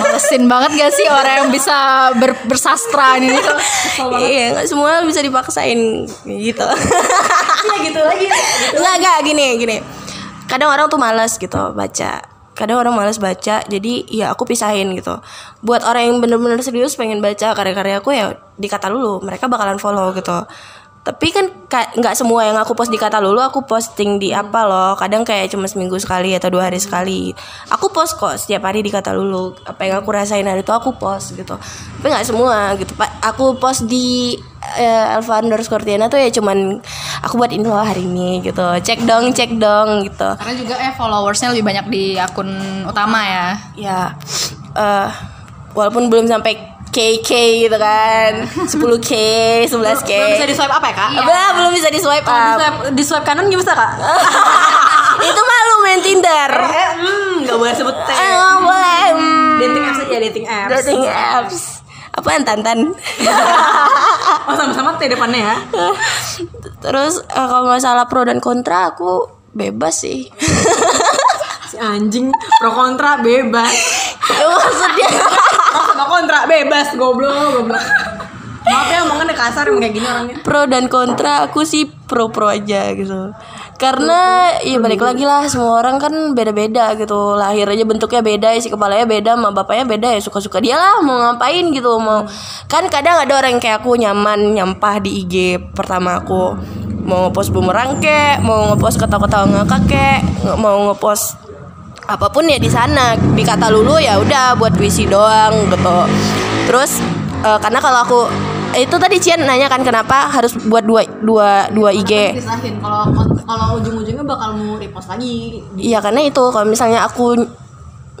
Speaker 2: Malesin banget gak sih orang yang bisa ber- bersastra ini tuh?
Speaker 1: iya nggak semua hal bisa dipaksain gitu
Speaker 3: Iya gitu lagi.
Speaker 1: nggak nggak gini gini kadang orang tuh malas gitu baca kadang orang malas baca jadi ya aku pisahin gitu buat orang yang bener-bener serius pengen baca karya-karya aku ya dikata dulu mereka bakalan follow gitu tapi kan ka- nggak semua yang aku post di kata lulu aku posting di apa loh kadang kayak cuma seminggu sekali atau dua hari sekali aku post kok setiap hari di kata lulu apa yang aku rasain hari itu aku post gitu tapi nggak semua gitu pak aku post di eh, Alfa underscore Tiana tuh ya cuman aku buat ini loh hari ini gitu cek dong cek dong gitu
Speaker 2: Karena juga eh followersnya lebih banyak di akun utama ya.
Speaker 1: ya eh walaupun belum sampai KK gitu kan 10K 11K
Speaker 3: Belum bisa di swipe apa ya, Kak?
Speaker 1: Apa, belum bisa di swipe
Speaker 3: Di
Speaker 1: up
Speaker 3: swipe, di swipe kanan gimana bisa, Kak?
Speaker 1: Ah. itu malu main Tinder
Speaker 3: Eh, hmm, enggak boleh sebut teh.
Speaker 1: eh nggak boleh hmm.
Speaker 3: Dating apps aja, dating apps.
Speaker 1: dating apps apaan Tantan
Speaker 3: Oh, sama-sama teh depannya ya.
Speaker 1: terus eh, kalau masalah pro dan kontra aku bebas sih
Speaker 3: Si anjing pro kontra bebas.
Speaker 1: ya, maksudnya
Speaker 3: Pro sama kontra bebas, goblok, goblok. Maaf ya omongannya kasar emang kayak gini orangnya.
Speaker 1: pro dan kontra aku sih pro pro aja gitu karena ya balik lagi lah semua orang kan beda beda gitu lahir aja bentuknya beda isi kepalanya beda sama bapaknya beda ya suka suka dia lah mau ngapain gitu mau kan kadang ada orang yang kayak aku nyaman nyampah di IG pertama aku mau ngepost bumerang kek mau ngepost ketawa ketawa ngakak kek nge- mau ngepost apapun ya di sana dikata lulu ya udah buat puisi doang gitu terus eh, karena kalau aku itu tadi Cian nanya kan kenapa harus buat dua dua dua IG
Speaker 3: Pisahin kalau kalau ujung-ujungnya bakal mau repost lagi.
Speaker 1: Iya karena itu kalau misalnya aku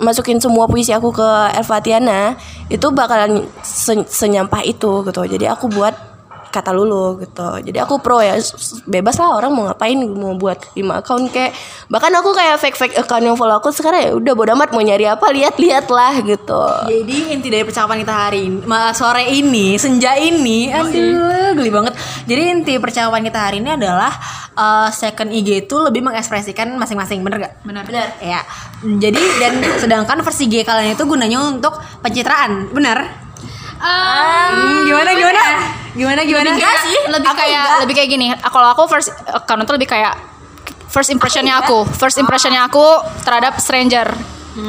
Speaker 1: masukin semua puisi aku ke Elvatiana itu bakalan se- senyampah itu gitu. Jadi aku buat kata lulu gitu. Jadi aku pro ya s- s- bebas lah orang mau ngapain mau buat 5 account kayak bahkan aku kayak fake fake account yang follow aku sekarang ya udah bodo amat mau nyari apa lihat-lihat lah gitu.
Speaker 3: Jadi inti dari percakapan kita hari ini, ma- sore ini, senja ini, aduh geli banget. Jadi inti percakapan kita hari ini adalah uh, second IG itu lebih mengekspresikan masing-masing, bener gak?
Speaker 2: Benar.
Speaker 3: Ya. Jadi dan sedangkan versi G kalian itu gunanya untuk pencitraan, bener? Hmm, gimana gimana? Gimana gimana?
Speaker 2: Enggak sih, Ah. lebih kayak lebih kayak gini. Kalau aku first account itu lebih kayak first impressionnya aku, Ah. first impressionnya aku terhadap stranger.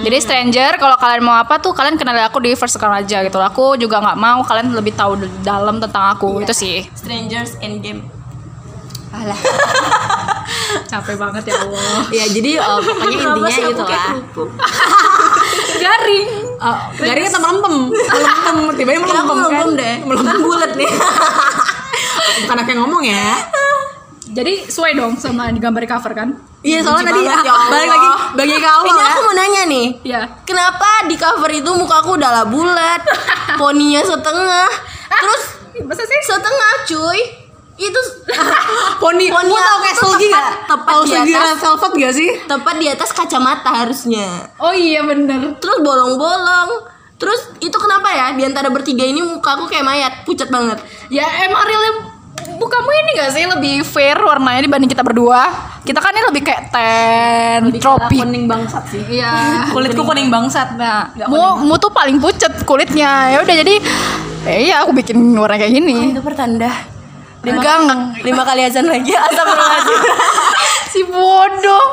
Speaker 2: Jadi stranger kalau kalian mau apa tuh kalian kenali aku di first account aja gitu. Aku juga nggak mau kalian lebih tahu d- dalam tentang aku itu sih.
Speaker 4: Strangers Endgame
Speaker 2: Capek banget ya
Speaker 1: Ah,
Speaker 2: Allah.
Speaker 3: Ya jadi uh, pokoknya intinya gitu lah.
Speaker 2: Garing.
Speaker 3: Uh, garingnya sama melempem, melempem, tiba-tiba melempem kan? deh, melempem bulat nih. Bukan aku yang ngomong ya.
Speaker 2: Jadi sesuai dong sama yang digambar di cover kan?
Speaker 3: Iya soalnya tadi
Speaker 1: banget,
Speaker 3: ah,
Speaker 1: ya Allah.
Speaker 3: balik lagi bagi ke awal
Speaker 1: Ini
Speaker 3: ya.
Speaker 1: aku mau nanya nih.
Speaker 2: Iya.
Speaker 1: Kenapa di cover itu muka aku udah lah bulat, poninya setengah, terus
Speaker 2: Masa sih?
Speaker 1: setengah cuy itu
Speaker 3: Poni,
Speaker 1: Poni
Speaker 3: lu
Speaker 1: aku
Speaker 3: tau kayak
Speaker 1: tuh
Speaker 3: Selgi
Speaker 1: tepat-
Speaker 3: gak?
Speaker 1: tepat
Speaker 3: Tau
Speaker 1: di
Speaker 3: Selgi
Speaker 1: atas.
Speaker 3: Red Velvet gak sih?
Speaker 1: tepat di atas kacamata harusnya
Speaker 2: Oh iya bener
Speaker 1: terus bolong-bolong terus itu kenapa ya di antara bertiga ini muka aku kayak mayat pucat banget
Speaker 2: Ya emang realnya Bukamu ini gak sih lebih fair warnanya dibanding kita berdua? Kita kan ini lebih kayak ten, tropik
Speaker 3: Kuning bangsat sih
Speaker 2: Iya
Speaker 3: Kulitku kuning bangsat
Speaker 2: Nah, mu, mu tuh paling pucet kulitnya ya udah jadi eh, iya aku bikin warna kayak gini
Speaker 1: itu pertanda
Speaker 2: enggak enggak.
Speaker 1: lima kali azan lagi asal
Speaker 2: si bodoh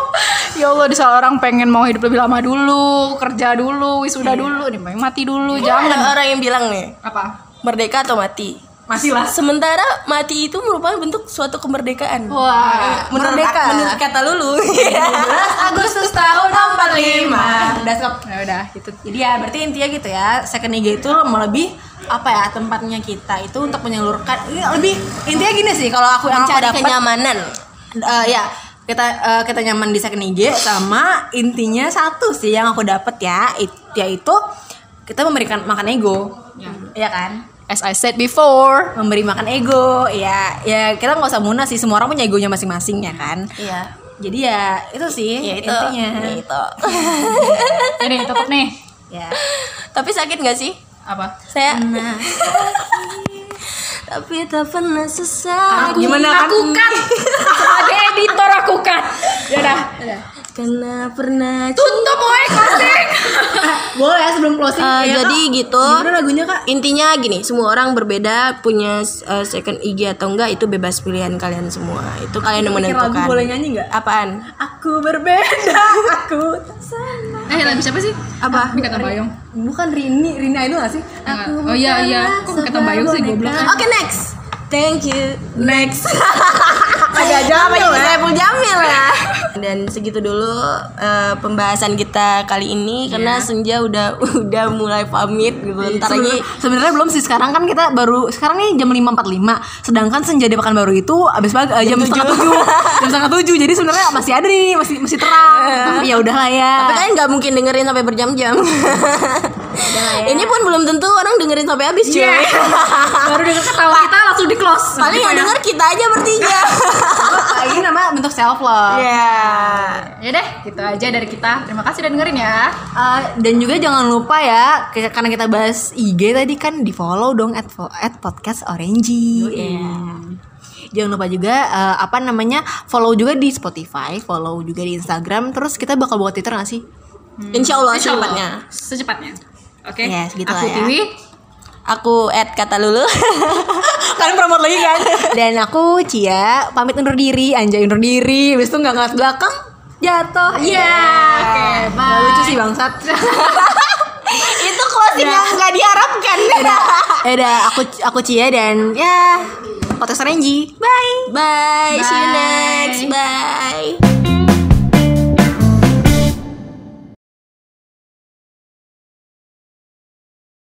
Speaker 2: ya Allah di salah orang pengen mau hidup lebih lama dulu kerja dulu wisuda dulu nih pengen mati dulu jangan
Speaker 1: ada orang yang bilang nih
Speaker 2: apa
Speaker 1: merdeka atau mati
Speaker 3: Masih lah
Speaker 1: sementara mati itu merupakan bentuk suatu kemerdekaan
Speaker 2: wah
Speaker 1: merdeka menurut kata lulu
Speaker 3: 11 Agustus tahun 45 Udah stop
Speaker 2: ya udah gitu
Speaker 3: Jadi ya berarti intinya gitu ya Second IG itu mau lebih apa ya tempatnya kita itu untuk menyalurkan ini lebih intinya gini sih kalau aku yang aku
Speaker 1: Mencari
Speaker 3: dapat
Speaker 1: kenyamanan.
Speaker 3: eh, ya kita eh, kita nyaman di second IG sama intinya satu sih yang aku dapat ya it- yaitu kita memberikan makan ego ya kan
Speaker 2: As I said before.
Speaker 3: memberi makan ego ya ya kita nggak usah munas sih semua orang punya egonya masing-masing ya kan
Speaker 1: Iya.
Speaker 3: jadi ya itu sih
Speaker 1: Ya itu.
Speaker 3: intinya
Speaker 1: Ya itu.
Speaker 2: Ini tetap nih.
Speaker 3: ya
Speaker 1: Tapi sakit gak sih? Nah,
Speaker 2: Apa?
Speaker 1: Saya Tapi tak pernah sesat
Speaker 3: Aku Gimana kan?
Speaker 2: kan? Sebagai editor aku kan. Ya udah.
Speaker 1: Karena pernah
Speaker 2: Tutup woi closing.
Speaker 3: boleh ya sebelum
Speaker 1: Eh,
Speaker 3: closing ya,
Speaker 1: jadi
Speaker 3: Kak?
Speaker 1: gitu.
Speaker 3: gimana lagunya kak
Speaker 1: Intinya gini, semua orang berbeda punya eh, second IG atau enggak itu bebas pilihan kalian semua. Itu kalian yang
Speaker 3: Bikin
Speaker 1: menentukan.
Speaker 3: lagu boleh nyanyi nggak
Speaker 1: Apaan?
Speaker 3: aku berbeda aku tak sama
Speaker 2: Eh lagu siapa sih? Ah,
Speaker 1: Apa?
Speaker 2: Mika Tambayong.
Speaker 3: bukan Rini Rini Aidul nggak sih
Speaker 2: Oh iya iya. Kok Mika Tambayong sih goblok.
Speaker 1: Oke, next. Thank you.
Speaker 3: next ada aja apa ya
Speaker 1: Saya Saiful Jamil ya. Dan segitu dulu eh, pembahasan kita kali ini
Speaker 3: Iya.
Speaker 1: karena Senja udah udah mulai pamit gitu. Ntar lagi
Speaker 3: Sebenarnya- Sebenarnya belum sih sekarang kan kita baru sekarang nih jam 5.45 sedangkan senja di Pekanbaru itu abis pagi eh, jam setengah tujuh jam setengah tujuh jadi sebenarnya masih ada nih masih masih terang tapi ya udahlah ya
Speaker 1: Iya. tapi kalian kan nggak mungkin dengerin sampai berjam-jam.
Speaker 3: Iya, ya.
Speaker 1: Ini pun belum tentu orang dengerin sampai habis cuy.
Speaker 2: Baru dengar ketawa kita langsung di close.
Speaker 1: Paling yang denger kita aja bertiga.
Speaker 3: Apa, ini nama bentuk self love
Speaker 1: Ya.
Speaker 2: Ya deh, gitu aja dari kita. Terima kasih udah dengerin ya.
Speaker 3: Eh, dan juga jangan lupa ya ke- karena kita bahas IG tadi kan di follow dong at, fo- at podcast Orange Iya. jangan lupa juga eh, apa namanya follow juga di Spotify follow juga di Instagram terus kita bakal buat Twitter nggak sih Hmm.
Speaker 1: Insya Allah
Speaker 2: Insya Allah.
Speaker 1: secepatnya.
Speaker 2: Secepatnya. Oke.
Speaker 3: Yes, gitu
Speaker 2: Aku
Speaker 3: lah ya.
Speaker 2: Tiwi.
Speaker 1: Aku add kata lulu.
Speaker 3: Kalian promote lagi kan? Dan aku Cia pamit undur diri, anjay undur diri. Habis itu nggak ngeliat belakang, jatuh. Iya.
Speaker 2: Oke, bye.
Speaker 3: Nggak Lucu sih bangsat.
Speaker 1: Itu
Speaker 3: Iya.
Speaker 1: closing yang nggak diharapkan. Eh,
Speaker 3: ya udah, aku aku Cia dan ya, podcast Renji. Bye.
Speaker 1: Bye. See you
Speaker 2: Bye.